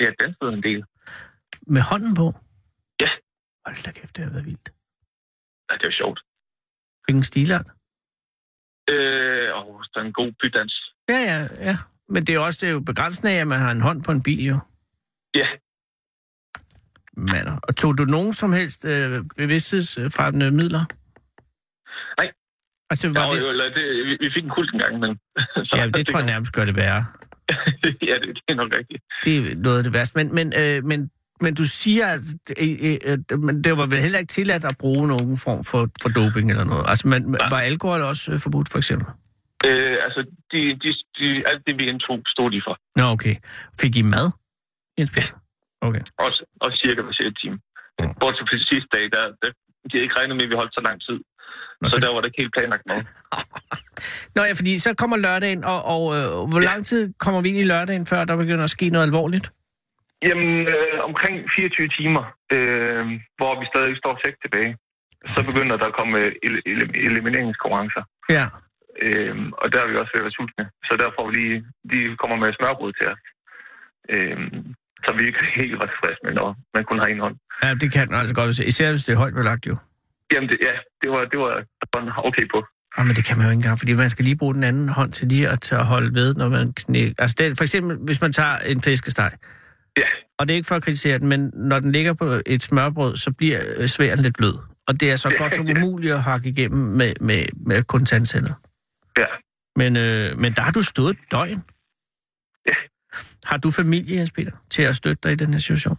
Speaker 8: Ja, dansede en del.
Speaker 4: Med hånden på?
Speaker 8: Ja.
Speaker 4: Hold da kæft, det har været vildt.
Speaker 8: Ja, det var sjovt.
Speaker 4: Hvilken stilart?
Speaker 8: Øh, og så en god bydans.
Speaker 4: Ja, ja, ja. Men det er, også, det er jo begrænsende af, at man har en hånd på en bil, jo.
Speaker 8: Ja,
Speaker 4: Mander. Og tog du nogen som helst øh, bevidsthedsfremmende midler?
Speaker 8: Nej.
Speaker 4: Altså,
Speaker 8: der
Speaker 4: var
Speaker 8: var
Speaker 4: det,
Speaker 8: jo, eller det, vi, vi fik en kult en gang imellem. så,
Speaker 4: [laughs] ja, det tror jeg nærmest gør det værre.
Speaker 8: [laughs] ja, det, det, er nok rigtigt.
Speaker 4: Det er noget af det værste. Men, men, øh, men, men du siger, at øh, øh, øh, men det var vel heller ikke tilladt at bruge nogen form for, for doping eller noget. Altså, man,
Speaker 8: Nej.
Speaker 4: var alkohol også øh, forbudt, for eksempel?
Speaker 8: Øh, altså, de, de, de, alt det, vi indtog, stod de for.
Speaker 4: Nå, okay. Fik I mad? Jens Peter? Okay.
Speaker 8: Også, også cirka hver sjette time. Bortset fra sidste dag, der, der, de havde ikke regnet med, at vi holdt så lang tid.
Speaker 4: Nå,
Speaker 8: så,
Speaker 4: så-
Speaker 8: der var der ikke helt planlagt noget.
Speaker 4: Nå ja, fordi så kommer lørdagen, og, og øh, hvor
Speaker 8: Ja.
Speaker 4: lang tid kommer vi ind i lørdagen, før der begynder at ske noget alvorligt?
Speaker 8: Jamen, øh, omkring 24 timer, øh, hvor vi stadig står seks tilbage, så begynder der at komme øh, ele- ele- elimineringskonkurrencer.
Speaker 4: Ja.
Speaker 8: Øhm, og der er vi også ved at være sultne. Så der får vi lige, de kommer med smørbrød til os. Øhm, så vi ikke [laughs] helt var tilfredse med, når man kun har en hånd.
Speaker 4: Ja, det kan den altså godt, hvis- især hvis det er højt belagt jo.
Speaker 8: Jamen, det, ja, det var, det var sådan okay på.
Speaker 4: Ja, men det kan man jo ikke engang, fordi man skal lige bruge den anden hånd til lige at, til at holde ved, når man knækker. Altså det, for eksempel, hvis man tager en fiskesteg,
Speaker 8: Ja,
Speaker 4: og det er ikke for at kritisere den, men når den ligger på et smørbrød, så bliver øh, sværen lidt blød. Og det er så
Speaker 8: Ja,
Speaker 4: godt som
Speaker 8: ja.
Speaker 4: umuligt at hakke igennem med, med, med kun tandsænder.
Speaker 8: ja.
Speaker 4: Men, øh, men der har du stået et døgn.
Speaker 8: Ja.
Speaker 4: Har du familie, Jens Peter, til at støtte dig i den her situation?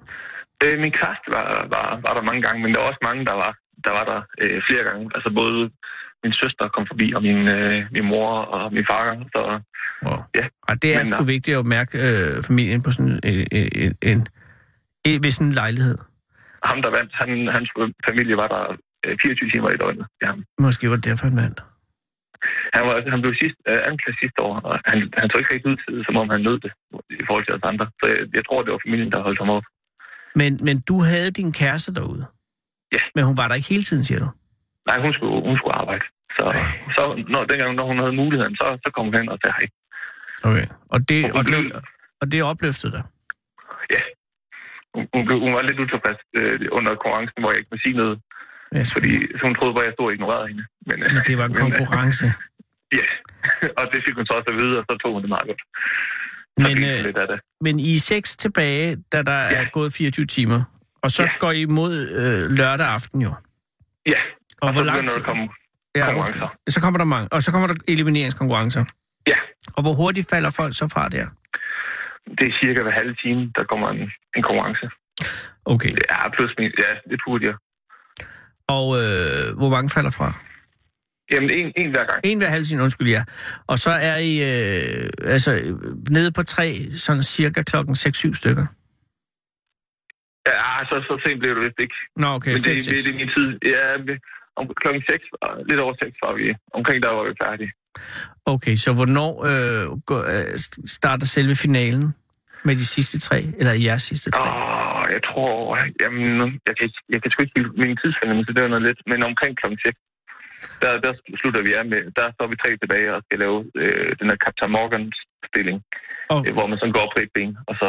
Speaker 8: Øh, min kæreste var, var, var der mange gange, men der var også mange, der var der, var der øh, flere gange. Altså både min søster kom forbi, og min, øh, min mor og min far. Så
Speaker 4: Wow.
Speaker 8: Ja,
Speaker 4: Og det er
Speaker 8: men
Speaker 4: sgu
Speaker 8: nej.
Speaker 4: vigtigt at mærke øh, familien på sådan en, en, en, en, ved sådan en lejlighed.
Speaker 8: ham, der vandt, han, hans familie var der øh, 24 timer i døgnet. Ja.
Speaker 4: Måske var det derfor, han vandt.
Speaker 8: Han, var, han blev sidst, øh, anklaget sidste år, og han, han tog ikke rigtig ud til det, som om han nød det i forhold til os andre. Så jeg, jeg tror, det var familien, der holdt ham op.
Speaker 4: Men, men du havde din kæreste derude.
Speaker 8: Ja.
Speaker 4: Men hun var der ikke hele tiden, siger du.
Speaker 8: Nej, hun skulle, hun skulle arbejde. Så, så når, dengang, når hun havde muligheden, så, så kom hun hen og sagde hej.
Speaker 4: Okay. Og det,
Speaker 8: Hun
Speaker 4: og
Speaker 8: blev-
Speaker 4: det, og det opløftede dig.
Speaker 8: Hun, hun, blev, hun var lidt utilfreds øh, under konkurrencen, hvor jeg ikke må sige noget,
Speaker 4: Ja,
Speaker 8: fordi så hun troede bare, at jeg stod og ignorerede hende. Men, øh,
Speaker 4: men det var en
Speaker 8: men, øh,
Speaker 4: konkurrence.
Speaker 8: [laughs] Ja, og det fik hun så også at vide, og så tog hun det meget godt. Så
Speaker 4: Men,
Speaker 8: fik hun
Speaker 4: øh,
Speaker 8: lidt af det.
Speaker 4: men I er seks tilbage, da der ja. er
Speaker 8: Ja.
Speaker 4: gået 24 timer. Og så ja.
Speaker 8: Ja.
Speaker 4: går I mod øh, lørdag aften jo.
Speaker 8: Ja,
Speaker 4: Og,
Speaker 8: og så
Speaker 4: hvor lang
Speaker 8: begynder
Speaker 4: tid?
Speaker 8: der at komme
Speaker 4: ja,
Speaker 8: konkurrencer.
Speaker 4: undskyld. så kommer der mange. Og så kommer der elimineringskonkurrencer.
Speaker 8: Ja.
Speaker 4: Og hvor hurtigt falder folk så fra der?
Speaker 8: Det er cirka hver halve time, der kommer en, en konkurrence.
Speaker 4: Okay.
Speaker 8: Ja, plus min, ja, lidt hurtigere.
Speaker 4: Og øh, hvor mange falder fra?
Speaker 8: Jamen, en, en hver gang.
Speaker 4: En hver halv time, undskyld, ja. Og så er I øh, altså, øh, nede på tre, sådan cirka klokken 6-7 stykker.
Speaker 8: Ja, så, så sent blev det vist ikke.
Speaker 4: Nå, okay,
Speaker 8: Men det,
Speaker 4: 5-6.
Speaker 8: det, det, er min tid. Ja, vi- om klokken 6, lidt over 6 var vi. Omkring der var vi færdige.
Speaker 4: Okay, så hvornår øh, går, øh, starter selve finalen med de sidste tre, eller jeres sidste tre? Oh.
Speaker 8: Åh, jeg tror... Jamen, jeg kan, ikke- jeg kan sgu ikke give min tidsfornemmelse, det var noget lidt. Men omkring klokken 6, der, der slutter vi af med... Der står vi tre tilbage og skal lave øh, den her Captain Morgan-stilling.
Speaker 4: Og,
Speaker 8: Øh, hvor man sådan går op på et ben, og så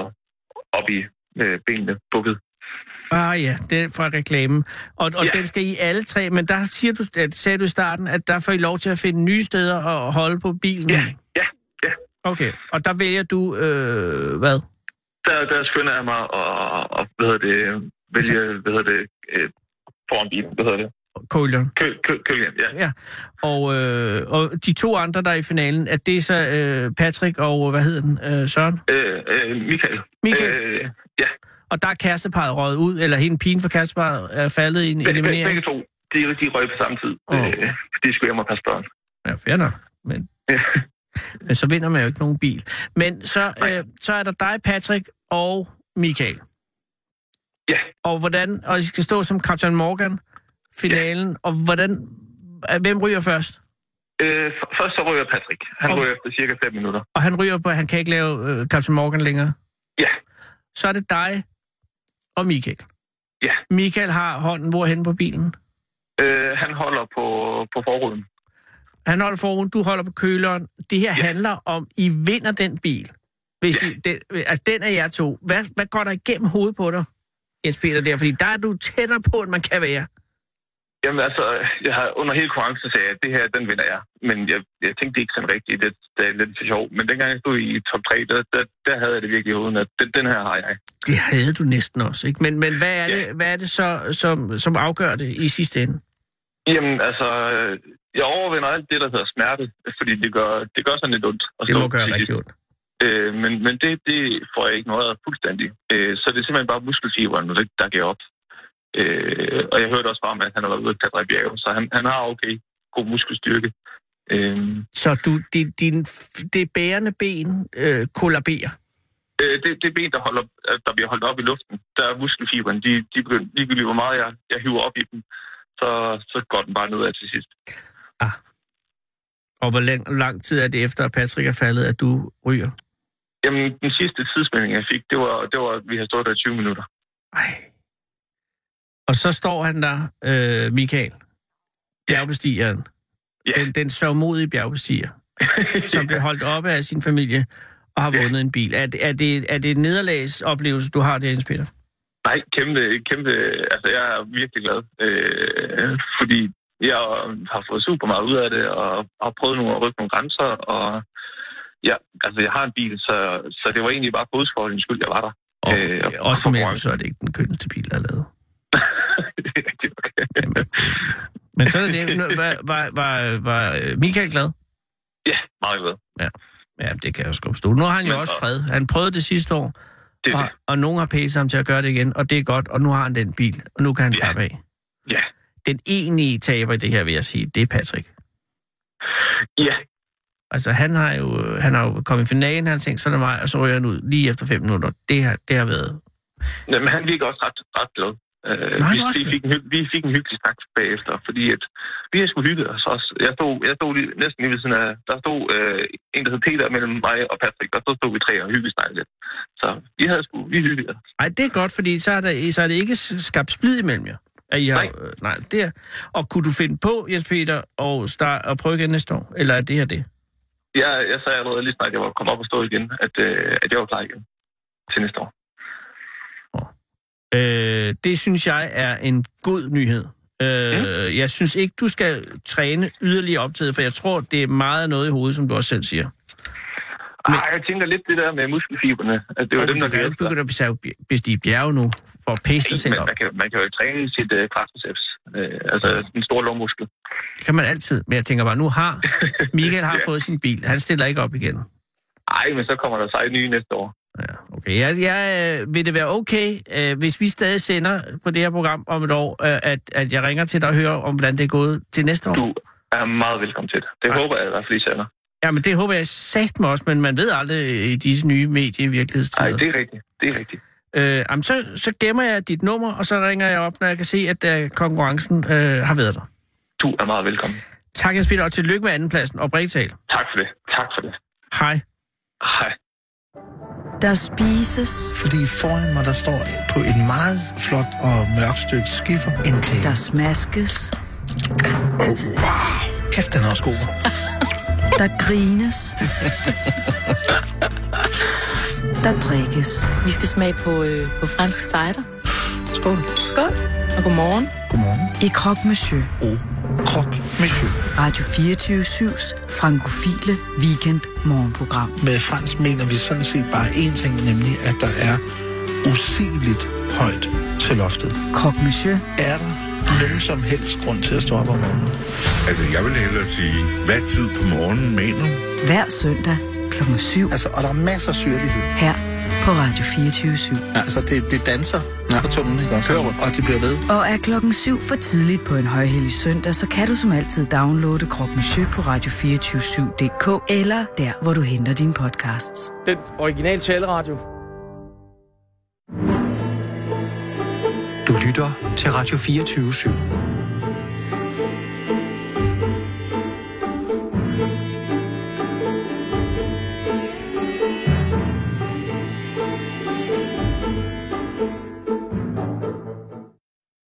Speaker 8: op i øh, benene bukket.
Speaker 4: ah ja, det er fra reklamen. Og, og
Speaker 8: Ja.
Speaker 4: den skal I alle tre, men der siger du, at, sagde du i starten, at der får I lov til at finde nye steder at holde på bilen.
Speaker 8: Ja, ja, ja.
Speaker 4: Okay, og der vælger du, øh, hvad?
Speaker 8: der, der skynder jeg mig og, og hvad hedder det, vælge, hvad hedder det, øh, foran bilen, hvad hedder det,
Speaker 4: Køleren.
Speaker 8: kø, kø, kølgen, ja.
Speaker 4: Ja, og, øh, og de to andre, der er i finalen, at det er så øh, Patrick og, hvad hedder den, øh, Søren?
Speaker 8: Øh, øh, Michael.
Speaker 4: Michael.
Speaker 8: Øh,
Speaker 4: Og der er kæresteparet røget ud, eller hende pigen fra kæresteparet er faldet i en
Speaker 8: be- be-
Speaker 4: eliminering?
Speaker 8: begge to, de, de røg på samme tid,
Speaker 4: Åh.
Speaker 8: oh. øh, fordi de skulle hjem og passe børn.
Speaker 4: Ja, fair nok. Men, men så vinder man jo ikke nogen bil. Men så, øh, så er der dig, Patrick, og Michael.
Speaker 8: Ja.
Speaker 4: Og hvordan, og I skal stå som Captain Morgan, finalen, ja. og hvordan, hvem ryger først?
Speaker 8: Øh, f- først så ryger Patrick. Han ryger efter cirka 5 minutter.
Speaker 4: Og han ryger på, at han kan ikke lave øh, Captain Morgan længere?
Speaker 8: Ja.
Speaker 4: Så er det dig og Michael.
Speaker 8: Ja.
Speaker 4: Michael har hånden hvorhen på bilen?
Speaker 8: Øh, han holder på, på forruden.
Speaker 4: Han holder forruden, du holder på køleren. Det her ja. handler om, I vinder den bil. Hvis ja. I, den, altså, den er jer to. Hvad, hvad går der igennem hovedet på dig, Jens Peter, der? Fordi der er du tættere på, end man kan være.
Speaker 8: Jamen altså, jeg har under hele konkurrencen sagde jeg, at det her, den vinder jeg. Men jeg, jeg tænkte ikke sådan rigtigt, det, det er lidt for sjov. Men dengang jeg stod i top 3, der, der, der havde jeg det virkelig i hovedet, at den, den her har jeg.
Speaker 4: Det havde du næsten også, ikke? Men, men hvad, er ja. det, hvad er det så, som, som afgør det i sidste ende?
Speaker 8: Jamen altså, jeg overvinder alt det, der hedder smerte, fordi det gør, det gør sådan lidt ondt.
Speaker 4: Og det må gøre rigtig ondt.
Speaker 8: Øh, men men det, det får jeg ignoreret fuldstændig. Øh, så det er simpelthen bare muskelfiberen, der, der gav op. Øh, og jeg hørte også bare om, at han har været ude at klatre i bjerge, så han, han har okay god muskelstyrke. Øh,
Speaker 4: Så du, det, din, det bærende ben øh, kollaberer?
Speaker 8: øh, det, det ben, der, holder, der bliver holdt op i luften, der er muskelfiberen, de, de begynder, ligegyldigt hvor meget jeg, jeg hiver op i dem, så, så går den bare nedad til sidst.
Speaker 4: Ah. Og hvor lang, lang tid er det efter, at Patrick er faldet, at du ryger?
Speaker 8: Jamen, den sidste tidsmelding, jeg fik, det var, det var at vi har stået der i 20 minutter.
Speaker 4: Ej. Og så står han der, øh, Michael, bjergbestigeren.
Speaker 8: Ja.
Speaker 4: Den, den sørgmodige bjergbestiger, som
Speaker 8: [laughs]
Speaker 4: blev holdt oppe af sin familie og har vundet en bil. Er, det- er, det, er det en nederlagsoplevelse, du har der, Jens Peter?
Speaker 8: Nej, kæmpe, kæmpe, altså jeg er virkelig glad, øh, fordi jeg har fået super meget ud af det, og har prøvet nogle at rykke nogle grænser, og ja, altså jeg har en bil, så, så det var egentlig bare fodsportens skyld, jeg var der. [laughs]
Speaker 4: Og,
Speaker 8: Øh,
Speaker 4: øh,
Speaker 8: og- og
Speaker 4: også imellem,
Speaker 8: konkurrence.
Speaker 4: så er det ikke den kønneste bil, der er lavet.
Speaker 8: det er rigtigt nok.
Speaker 4: Men så er det
Speaker 8: [laughs]
Speaker 4: det. Var, var, var, var øh, Michael glad?
Speaker 8: Ja, meget glad.
Speaker 4: Ja, det kan jeg også godt forstå. Nu har han jo
Speaker 8: Men-
Speaker 4: også fred. Han prøvede det sidste år,
Speaker 8: Det, er
Speaker 4: og,
Speaker 8: det.
Speaker 4: og nogen har pæset ham til at gøre det igen, og det er godt, og nu har han den bil, og nu kan han
Speaker 8: Ja.
Speaker 4: slappe af.
Speaker 8: Ja.
Speaker 4: Den egentlige taber i det her, vil jeg sige, det er Patrick.
Speaker 8: ja,
Speaker 4: Altså, han har jo, øh, han har jo kommet i finalen, han har tænkt, så er det mig, og så ryger han ud lige efter fem minutter. Det har, det har været...
Speaker 8: men han virker også ret, ret glad. Øh,
Speaker 4: Nej,
Speaker 8: vi,
Speaker 4: også
Speaker 8: vi,
Speaker 4: det.
Speaker 8: fik en, hy- vi fik en hyggelig snak bagefter, fordi at vi har sgu hygget os også. Jeg stod, jeg stod lige, næsten lige ved siden af, der stod øh, en, der hed Peter mellem mig og Patrick, og så stod vi tre og hyggede snakkede lidt. Så vi havde sgu, vi hyggede os.
Speaker 4: Ej, det er godt, fordi så er, der, så er det ikke s- skabt splid imellem jer. At I har,
Speaker 8: Nej.
Speaker 4: øh, nej, det er, og kunne du finde på, Jens Peter, og, start, og prøve igen næste år? Eller er det her det?
Speaker 8: Jeg, jeg sagde allerede lige snart, jeg var kommet op og stå igen, at, øh, at jeg var klar igen til næste år.
Speaker 4: Øh, det synes jeg er en god nyhed. Øh, jeg synes ikke, du skal træne yderligere op til det, for jeg tror, det er meget noget i hovedet, som du også selv siger.
Speaker 8: Ej, jeg tænker lidt det der med muskelfiberne, at det var dem, der
Speaker 4: du kan jo ikke
Speaker 8: gav
Speaker 4: begynde at bestige- bestige bjerge nu, for at pisse dig
Speaker 8: efter.
Speaker 4: selv
Speaker 8: Men
Speaker 4: op.
Speaker 8: man kan, man kan jo træne sit øh, quadriceps, øh, altså den store lårmuskel.
Speaker 4: Det kan man altid, men jeg tænker bare, nu
Speaker 8: [laughs]
Speaker 4: har Michael har fået sin bil, han stiller ikke op igen.
Speaker 8: Ej, men så kommer der sig nye næste år.
Speaker 4: Ja, okay. Jeg, jeg, øh, vil det være okay, øh, hvis vi stadig sender på det her program om et år, øh, at, at jeg ringer til dig og hører om, hvordan det er gået til næste år?
Speaker 8: Du er meget velkommen til det. Det håber jeg i hvert fald, I sender.
Speaker 4: Jamen, det håber jeg sagt mig også, men man ved aldrig i disse nye medie i
Speaker 8: Nej,
Speaker 4: virkelighedstider.
Speaker 8: det er rigtigt. Det er rigtigt.
Speaker 4: Øh, jamen, så, så gemmer jeg dit nummer, og så ringer jeg op, når jeg kan se, at øh, konkurrencen øh, har været der.
Speaker 8: Du er meget velkommen.
Speaker 4: Tak, Jens Peter, og tillykke med andenpladsen og brigtal.
Speaker 8: Tak for det. Tak for det.
Speaker 4: Hej.
Speaker 8: Hej.
Speaker 1: Der spises,
Speaker 11: Fordi foran mig, der står på et meget flot og mørkt stykke skiffer en kage.
Speaker 1: der smaskes,
Speaker 11: Kæft, den er også god.
Speaker 1: der grines, der drikkes.
Speaker 12: Vi skal smage på, øh, på fransk cider. Skål. Skål. Og godmorgen.
Speaker 1: I Croque Monsieur.
Speaker 11: Oh, Croque Monsieur.
Speaker 1: Radio 24-7's frankofile weekend morgenprogram.
Speaker 11: Med fransk mener vi sådan set bare én ting, nemlig at der er usigeligt højt til loftet.
Speaker 1: Croque Monsieur.
Speaker 11: Er der nogen som helst grund til at stå op om morgenen?
Speaker 13: Altså, jeg vil hellere sige, hvad tid på morgenen mener du?
Speaker 1: Hver søndag kl. 7
Speaker 11: Altså, og der er masser af syrlighed.
Speaker 1: her på på Radio 24 /7.
Speaker 11: Ja. Altså, det, det danser ja. på tungen, ikke? også? Og det bliver ved.
Speaker 1: Og er klokken 7 for tidligt på en højhellig søndag, så kan du som altid downloade Krop Monsieur på radio247.dk eller der, hvor du henter dine podcasts.
Speaker 14: Den originale taleradio.
Speaker 5: Du lytter til Radio 24 /7.